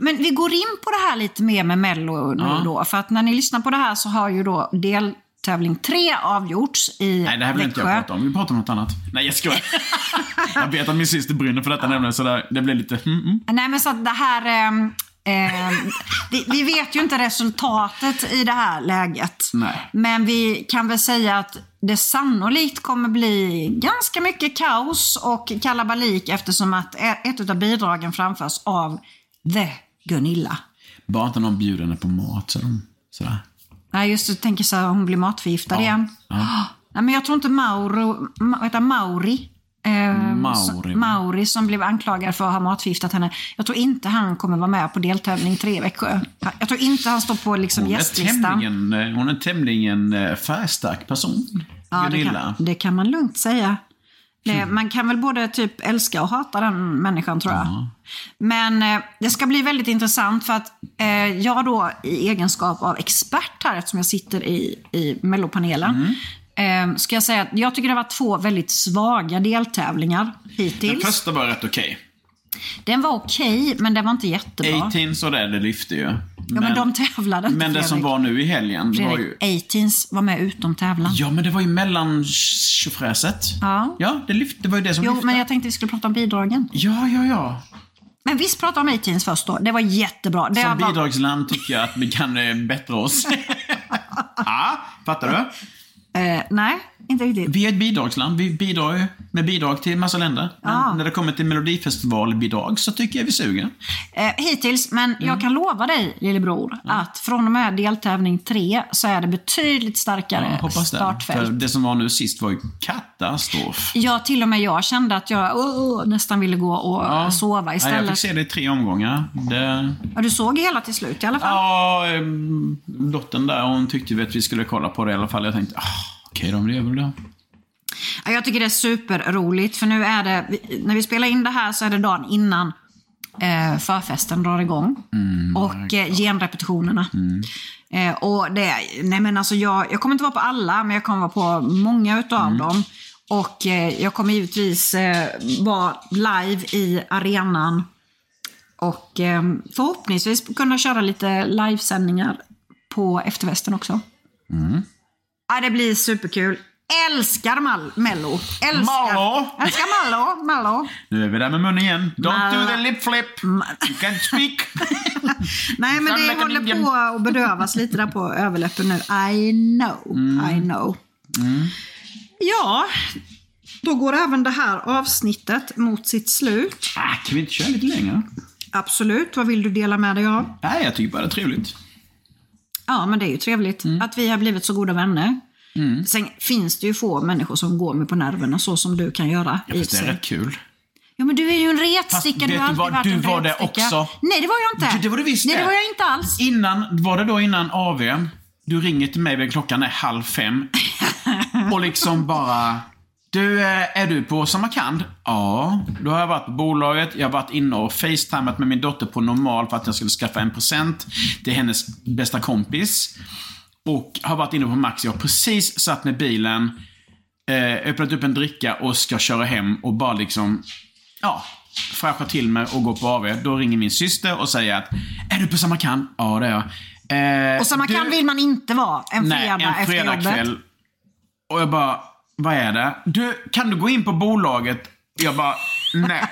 Speaker 3: Men vi går in på det här lite mer med Mello nu då. För att när ni lyssnar på det här så har ju då deltävling tre avgjorts i
Speaker 4: Nej, det här vill inte
Speaker 3: Växjö.
Speaker 4: jag prata om. Vi pratar om något annat. Nej,
Speaker 3: *laughs*
Speaker 4: jag skojar. jag vet att min syster brinner för detta nämligen, så där, det blir lite... Mm, mm.
Speaker 3: Nej, men så att det här... ehm, ehm, *laughs* det, vi vet ju inte resultatet i det här läget.
Speaker 4: Nej.
Speaker 3: Men vi kan väl säga att det sannolikt kommer bli ganska mycket kaos och kalabalik eftersom att e- ett av bidragen framförs av The Gunilla.
Speaker 4: Bara inte någon bjuder henne på mat, så de, sådär.
Speaker 3: Nej, just det. Jag tänker så här, hon blir matförgiftad igen. Nej, men jag tror inte Mauro, Ma, vad heter han? Mauri. Eh,
Speaker 4: Mauri.
Speaker 3: Som, Mauri som blev anklagad för att ha matförgiftat henne. Jag tror inte han kommer vara med på deltävling tre i Växjö. Jag tror inte han står på liksom
Speaker 4: Hon är,
Speaker 3: gästlistan.
Speaker 4: tämligen, eh, hon är en tämligen eh, färgstark person,
Speaker 3: Ja, det,
Speaker 4: Gunilla. Mm.
Speaker 3: kan, det kan man lugnt säga. Det, Man kan väl både typ älska och hata den människan tror jag. Men eh, det ska bli väldigt intressant för att eh, jag då i egenskap av expert här, eftersom jag sitter i, i mellopanelen,
Speaker 4: Mm.
Speaker 3: eh, ska jag säga att jag tycker det har varit två väldigt svaga deltävlingar
Speaker 4: Den
Speaker 3: hittills.
Speaker 4: första var rätt okej.
Speaker 3: Den var okej, men den var inte jättebra.
Speaker 4: 18 så där, det lyfte ju.
Speaker 3: Ja, men de tävlade inte,
Speaker 4: Men det som
Speaker 3: Fredrik.
Speaker 4: var nu i helgen, det var ju...
Speaker 3: Fredrik, 18s var med utom tävlan.
Speaker 4: Ja, men det var ju mellan tjofräset.
Speaker 3: Ja.
Speaker 4: ja det, lyfte, det var ju det som
Speaker 3: Jo,
Speaker 4: lyfte.
Speaker 3: men jag tänkte vi skulle prata om bidragen.
Speaker 4: Ja, ja, ja.
Speaker 3: Men visst pratade om A-Teens först då. Det var jättebra. Det
Speaker 4: Som
Speaker 3: var...
Speaker 4: bidragsland tycker jag att vi kan eh, bättra oss. ja, fattar du?
Speaker 3: Eh, nej, inte riktigt.
Speaker 4: Vi är ett bidragsland. Vi bidrar ju med bidrag till massa länder. Men när det kommer till melodifestivalbidrag så tycker jag vi suger.
Speaker 3: Eh, hittills, men
Speaker 4: Mm.
Speaker 3: jag kan lova dig lillebror att från och med deltävling tre så är det betydligt
Speaker 4: Ja,
Speaker 3: starkare
Speaker 4: hoppas det. För
Speaker 3: startfält.
Speaker 4: det som var nu sist var ju katastrof.
Speaker 3: Ja, till och med jag kände att jag åh, nästan ville gå och eh,
Speaker 4: Ja.
Speaker 3: sova
Speaker 4: Ja, jag
Speaker 3: istället.
Speaker 4: fick se det i tre omgångar. Det...
Speaker 3: ja, du såg hela till slut i alla fall.
Speaker 4: Ja, ehm, dottern där hon tyckte ju att vi skulle kolla på det i alla fall. Jag tänkte, ah, okej då, men det gör väl det.
Speaker 3: Ja, Jag tycker det är superroligt för nu är det, vi- när vi spelar in det här så är det dagen innan eh, förfesten drar igång. och eh, genrepetitionerna. Eh, och det, nej men alltså jag, jag kommer inte vara på alla, men jag kommer vara på många utav dem. Och eh, jag kommer givetvis eh, vara live i arenan. Och eh, förhoppningsvis kunna köra lite livesändningar på efterfesten också. Ja, det blir superkul. Älskar Mal- Mello. Älskar,
Speaker 4: Malå.
Speaker 3: älskar Mallo. Mallo.
Speaker 4: Nu är vi där med munnen igen. Don't do
Speaker 3: Malla.
Speaker 4: the lip flip. You can't speak.
Speaker 3: Nej, men
Speaker 4: Sound
Speaker 3: det
Speaker 4: like an
Speaker 3: håller
Speaker 4: Indian.
Speaker 3: på att bedövas lite där
Speaker 4: *laughs*
Speaker 3: på överläppen nu. I know,
Speaker 4: Mm.
Speaker 3: I know. Ja, då går även det här avsnittet mot sitt slut.
Speaker 4: Ah, kan vi inte köra lite längre?
Speaker 3: Absolut, vad vill du dela med dig av?
Speaker 4: Nej, jag tycker bara det är trevligt.
Speaker 3: Ja, men det är ju trevligt
Speaker 4: Mm.
Speaker 3: att vi har blivit så goda vänner. Sen finns det ju få människor som går med på nerverna så som du kan göra. i och
Speaker 4: Fast
Speaker 3: för
Speaker 4: det är
Speaker 3: sig.
Speaker 4: rätt kul.
Speaker 3: Ja, men du är ju en retsticka.
Speaker 4: Fast vet
Speaker 3: Du har
Speaker 4: du
Speaker 3: alltid
Speaker 4: vad?
Speaker 3: varit
Speaker 4: Du
Speaker 3: en
Speaker 4: var det
Speaker 3: retsticka.
Speaker 4: också.
Speaker 3: Nej, det var jag inte.
Speaker 4: Det- det var du visst
Speaker 3: Nej,
Speaker 4: det.
Speaker 3: det var jag inte alls.
Speaker 4: Innan, var det då innan AWn? Du ringer till mig vid klockan är
Speaker 3: *laughs*
Speaker 4: halv fem. Och liksom bara... Du, eh, är du på Samarkand? Ja. Då har jag varit på bolaget, jag har varit inne och facetimat med min dotter på normal för att jag skulle skaffa en present till hennes bästa kompis. Och har varit inne på Maxi och precis satt med bilen, eh, öppnat upp en dricka och ska köra hem och bara liksom... Ja, fräscha till mig och går på AV. Då ringer min syster och säger att Är du på Samarkand? Ja, det är jag. Eh,
Speaker 3: Och samma
Speaker 4: du-
Speaker 3: kan vill man inte vara en
Speaker 4: Nej,
Speaker 3: fredag,
Speaker 4: en fredag
Speaker 3: efter jobbet.
Speaker 4: kväll. Och jag bara, vad är det? Du, kan du gå in på bolaget? Jag bara,
Speaker 3: *laughs*
Speaker 4: nej.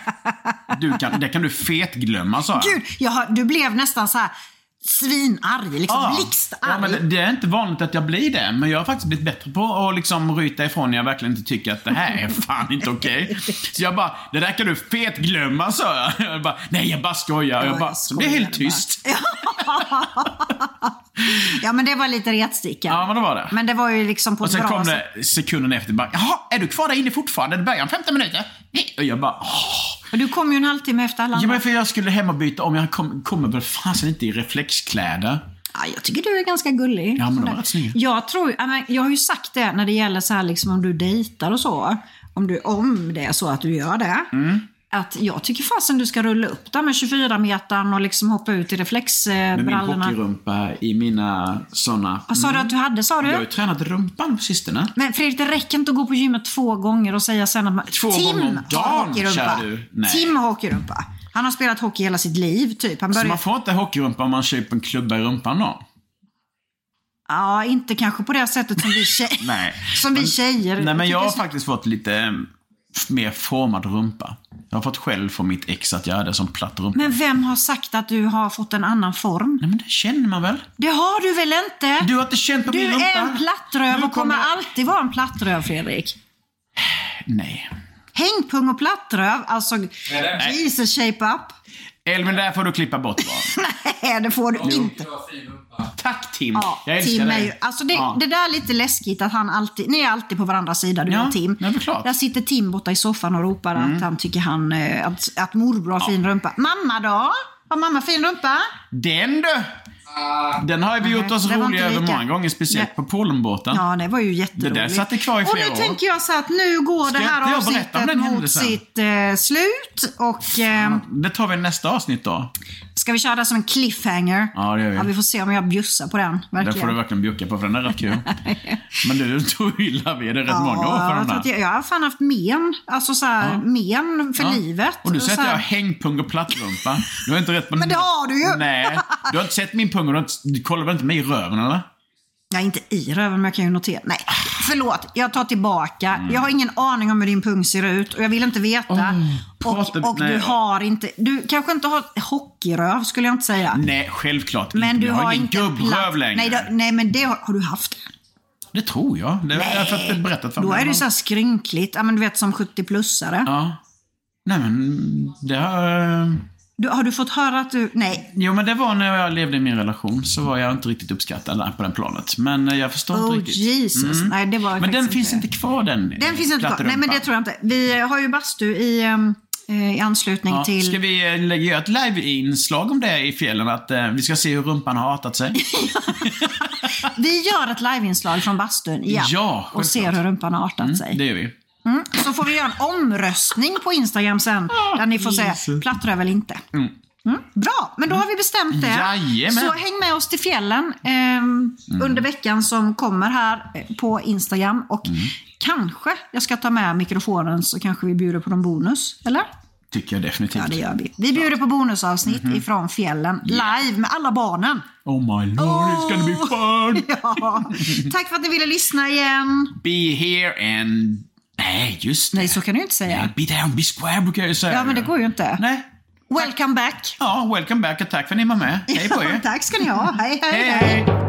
Speaker 4: Du kan, det kan du fetglömma, sa jag.
Speaker 3: Gud, jag har, du blev nästan så här svinarg. Liksom
Speaker 4: Ja.
Speaker 3: blixtarg.
Speaker 4: Ja, men det är inte vanligt att jag blir det, men jag har faktiskt blivit bättre på att liksom ryta ifrån när jag verkligen inte tycker att det
Speaker 3: *laughs*
Speaker 4: här är fan inte okej. Så jag bara, det där kan du fetglömma, sa jag. jag bara, nej, jag bara skojar. Och jag bara, så blev jag helt tyst.
Speaker 3: *laughs* ja, men det var lite retsticka.
Speaker 4: Ja, men det var det.
Speaker 3: Men det var ju liksom på
Speaker 4: Och
Speaker 3: ett
Speaker 4: sen
Speaker 3: bra
Speaker 4: kom
Speaker 3: sätt.
Speaker 4: det sekunden efter bara, jaha, är du kvar där inne fortfarande? Det börjar om 15 minuter. Nej. Och jag bara, åh.
Speaker 3: Och Du kom ju en halvtimme efter alla
Speaker 4: Ja,
Speaker 3: andra.
Speaker 4: men för jag skulle hem och byta om. Jag kom, kommer väl fasen inte i reflexkläder.
Speaker 3: Ja, jag tycker du är ganska gullig.
Speaker 4: Ja, men de
Speaker 3: Sådär.
Speaker 4: var rätt snygga.
Speaker 3: jag, tror, ja, men jag har ju sagt det när det gäller så här, liksom, om du dejtar och så. Om, du, om det är så att du gör det.
Speaker 4: Mm.
Speaker 3: Att jag tycker fasen du ska rulla upp där med 24 metern och liksom hoppa ut i
Speaker 4: Med min
Speaker 3: reflexbrallorna.
Speaker 4: hockeyrumpa i mina såna.
Speaker 3: Vad sa du att du hade? Sa
Speaker 4: Jag har ju
Speaker 3: du?
Speaker 4: tränat rumpan på sistone.
Speaker 3: Men Fredrik, det räcker inte att gå på gymmet två gånger och säga sen att man...
Speaker 4: Två
Speaker 3: Tim
Speaker 4: gånger om
Speaker 3: har
Speaker 4: dagen,
Speaker 3: hockeyrumpa.
Speaker 4: kär du. Nej.
Speaker 3: Tim har hockeyrumpa. Han har spelat hockey hela sitt liv, typ. Han
Speaker 4: Så
Speaker 3: började...
Speaker 4: man får inte hockeyrumpa om man köper en klubba i rumpan då?
Speaker 3: Ja, inte kanske på det sättet som vi, tjej...
Speaker 4: *laughs* Nej.
Speaker 3: *laughs* som vi tjejer
Speaker 4: Nej, men
Speaker 3: tycker
Speaker 4: jag
Speaker 3: är
Speaker 4: har
Speaker 3: snyggt.
Speaker 4: faktiskt fått lite eh, mer formad rumpa. Jag har fått skäll från mitt ex att jag hade som platt rumpa.
Speaker 3: Men vem har sagt att du har fått en annan form?
Speaker 4: Nej, men det känner man väl?
Speaker 3: Det har du väl inte?
Speaker 4: Du har inte känt på
Speaker 3: Du
Speaker 4: min rumpa?
Speaker 3: är en plattröv
Speaker 4: Nu
Speaker 3: och kommer
Speaker 4: jag-
Speaker 3: alltid vara en plattröv, Fredrik.
Speaker 4: Nej.
Speaker 3: Hängpung och plattröv, alltså Jesus shape up. *laughs*
Speaker 4: Elvin, där får du klippa bort bara.
Speaker 3: Nej, det får du inte.
Speaker 4: Tack Tim.
Speaker 3: Ja,
Speaker 4: Mm. jag älskar
Speaker 3: Tim är
Speaker 4: dig.
Speaker 3: ju, alltså det,
Speaker 4: Ja.
Speaker 3: det där är lite läskigt att han alltid, ni är alltid på varandras sida du
Speaker 4: Ja,
Speaker 3: och Tim.
Speaker 4: det är väl klart. Mm.
Speaker 3: Där sitter Tim borta i soffan och ropar att han tycker han, eh, att, att morbror har fin rumpa. Mamma då? Har mamma fin rumpa?
Speaker 4: Den du! Den har vi gjort
Speaker 3: Nej,
Speaker 4: oss
Speaker 3: det var
Speaker 4: roliga
Speaker 3: inte
Speaker 4: över
Speaker 3: lika.
Speaker 4: många gånger, speciellt
Speaker 3: Nej.
Speaker 4: på Polenbåten.
Speaker 3: Ja, det var ju jätteroligt.
Speaker 4: Det där satt det kvar i flera
Speaker 3: Och nu
Speaker 4: år.
Speaker 3: tänker jag så att nu går
Speaker 4: Ska
Speaker 3: det
Speaker 4: inte
Speaker 3: här
Speaker 4: jag berätta om
Speaker 3: avsnittet
Speaker 4: den
Speaker 3: mot
Speaker 4: händelsen?
Speaker 3: sitt eh, slut. Och eh,
Speaker 4: Det tar vi i nästa avsnitt då.
Speaker 3: ska vi köra det som en cliffhanger?
Speaker 4: Ja, det gör vi.
Speaker 3: Ja, vi får se om jag bjussar på den.
Speaker 4: Den
Speaker 3: Verkligen.
Speaker 4: får du
Speaker 3: *laughs*
Speaker 4: verkligen bjucka på, för den är rätt kul. Men du tog ju illa vid det *laughs* rätt många år
Speaker 3: Ja,
Speaker 4: för
Speaker 3: jag,
Speaker 4: den
Speaker 3: tror att
Speaker 4: där.
Speaker 3: jag, jag har fan haft men, alltså så här, men för
Speaker 4: Ja.
Speaker 3: livet.
Speaker 4: Och du säger
Speaker 3: så
Speaker 4: att
Speaker 3: här-
Speaker 4: jag har hängpung och plattrumpa. Du har inte rätt på
Speaker 3: Men det har du ju.
Speaker 4: Nej. Du har inte sett min pung och du, har inte, du kollar väl inte mig i röven eller?
Speaker 3: Nej, inte i röven, men jag kan ju notera. Nej, förlåt. Jag tar tillbaka.
Speaker 4: Mm.
Speaker 3: Jag har ingen aning om hur din pung ser ut och jag vill inte veta.
Speaker 4: prata-
Speaker 3: och och
Speaker 4: nej.
Speaker 3: du har inte... Du kanske inte har hockeyröv, skulle jag inte säga.
Speaker 4: Nej, självklart
Speaker 3: Men
Speaker 4: inte.
Speaker 3: du
Speaker 4: jag
Speaker 3: har,
Speaker 4: har ingen
Speaker 3: inte en
Speaker 4: gubbröv
Speaker 3: platt-
Speaker 4: längre.
Speaker 3: Nej, då, nej, men det har, har du haft.
Speaker 4: Det tror jag. Det har jag fått berättat för
Speaker 3: Då
Speaker 4: mig.
Speaker 3: är det så här skrynkligt. Ja, men du vet som 70-plussare.
Speaker 4: Ja. Nej men, det har... eh,
Speaker 3: Du, har du fått höra att du... Nej.
Speaker 4: Jo men det var när jag levde i min relation så var jag inte riktigt uppskattad där på den planet. Men eh, jag förstår
Speaker 3: Oh
Speaker 4: inte riktigt. Mm.
Speaker 3: Jesus. Nej, det var ju
Speaker 4: Men den
Speaker 3: faktiskt
Speaker 4: finns inte kvar den
Speaker 3: Den finns inte kvar.
Speaker 4: plattrumpan.
Speaker 3: Nej, men det tror jag inte. Vi har ju bastu i, ehm, eh, i anslutning
Speaker 4: Ja,
Speaker 3: till...
Speaker 4: Ska vi eh, lägga göra ett live-inslag om det i fjällen? Att eh, vi ska se hur rumpan har artat sig?
Speaker 3: Vi gör ett liveinslag från bastun igen
Speaker 4: Ja,
Speaker 3: och
Speaker 4: självklart.
Speaker 3: ser hur rumpan har artat sig.
Speaker 4: Det gör vi.
Speaker 3: Mm. Så får vi göra en omröstning på Instagram sen där ni får säga plattröv eller inte. Mm. Bra, men då har vi bestämt det.
Speaker 4: Jajamän. Mm.
Speaker 3: Så häng med oss till fjällen eh, under veckan som kommer här eh, på Instagram. Och
Speaker 4: Mm.
Speaker 3: kanske jag ska ta med mikrofonen så kanske vi bjuder på någon bonus. Eller?
Speaker 4: Tycker jag definitivt.
Speaker 3: Ja, det gör vi. Vi bjuder på bonusavsnitt
Speaker 4: Mm-hmm.
Speaker 3: ifrån fjällen live med alla barnen. *laughs*
Speaker 4: Oh my lord, it's gonna be fun! *laughs*
Speaker 3: Ja. Tack för att ni ville lyssna igen.
Speaker 4: Be here and... Nej, just det.
Speaker 3: Nej, så kan du ju inte säga.
Speaker 4: Nej, Be there and be square brukar jag ju säga.
Speaker 3: Ja, men det går ju inte.
Speaker 4: Nej.
Speaker 3: Welcome back.
Speaker 4: Ja, welcome back och tack för att ni var med. Hej på er.
Speaker 3: *laughs* Tack ska ni ha. Hej, hej,
Speaker 4: Hej,
Speaker 3: hej.
Speaker 4: hej.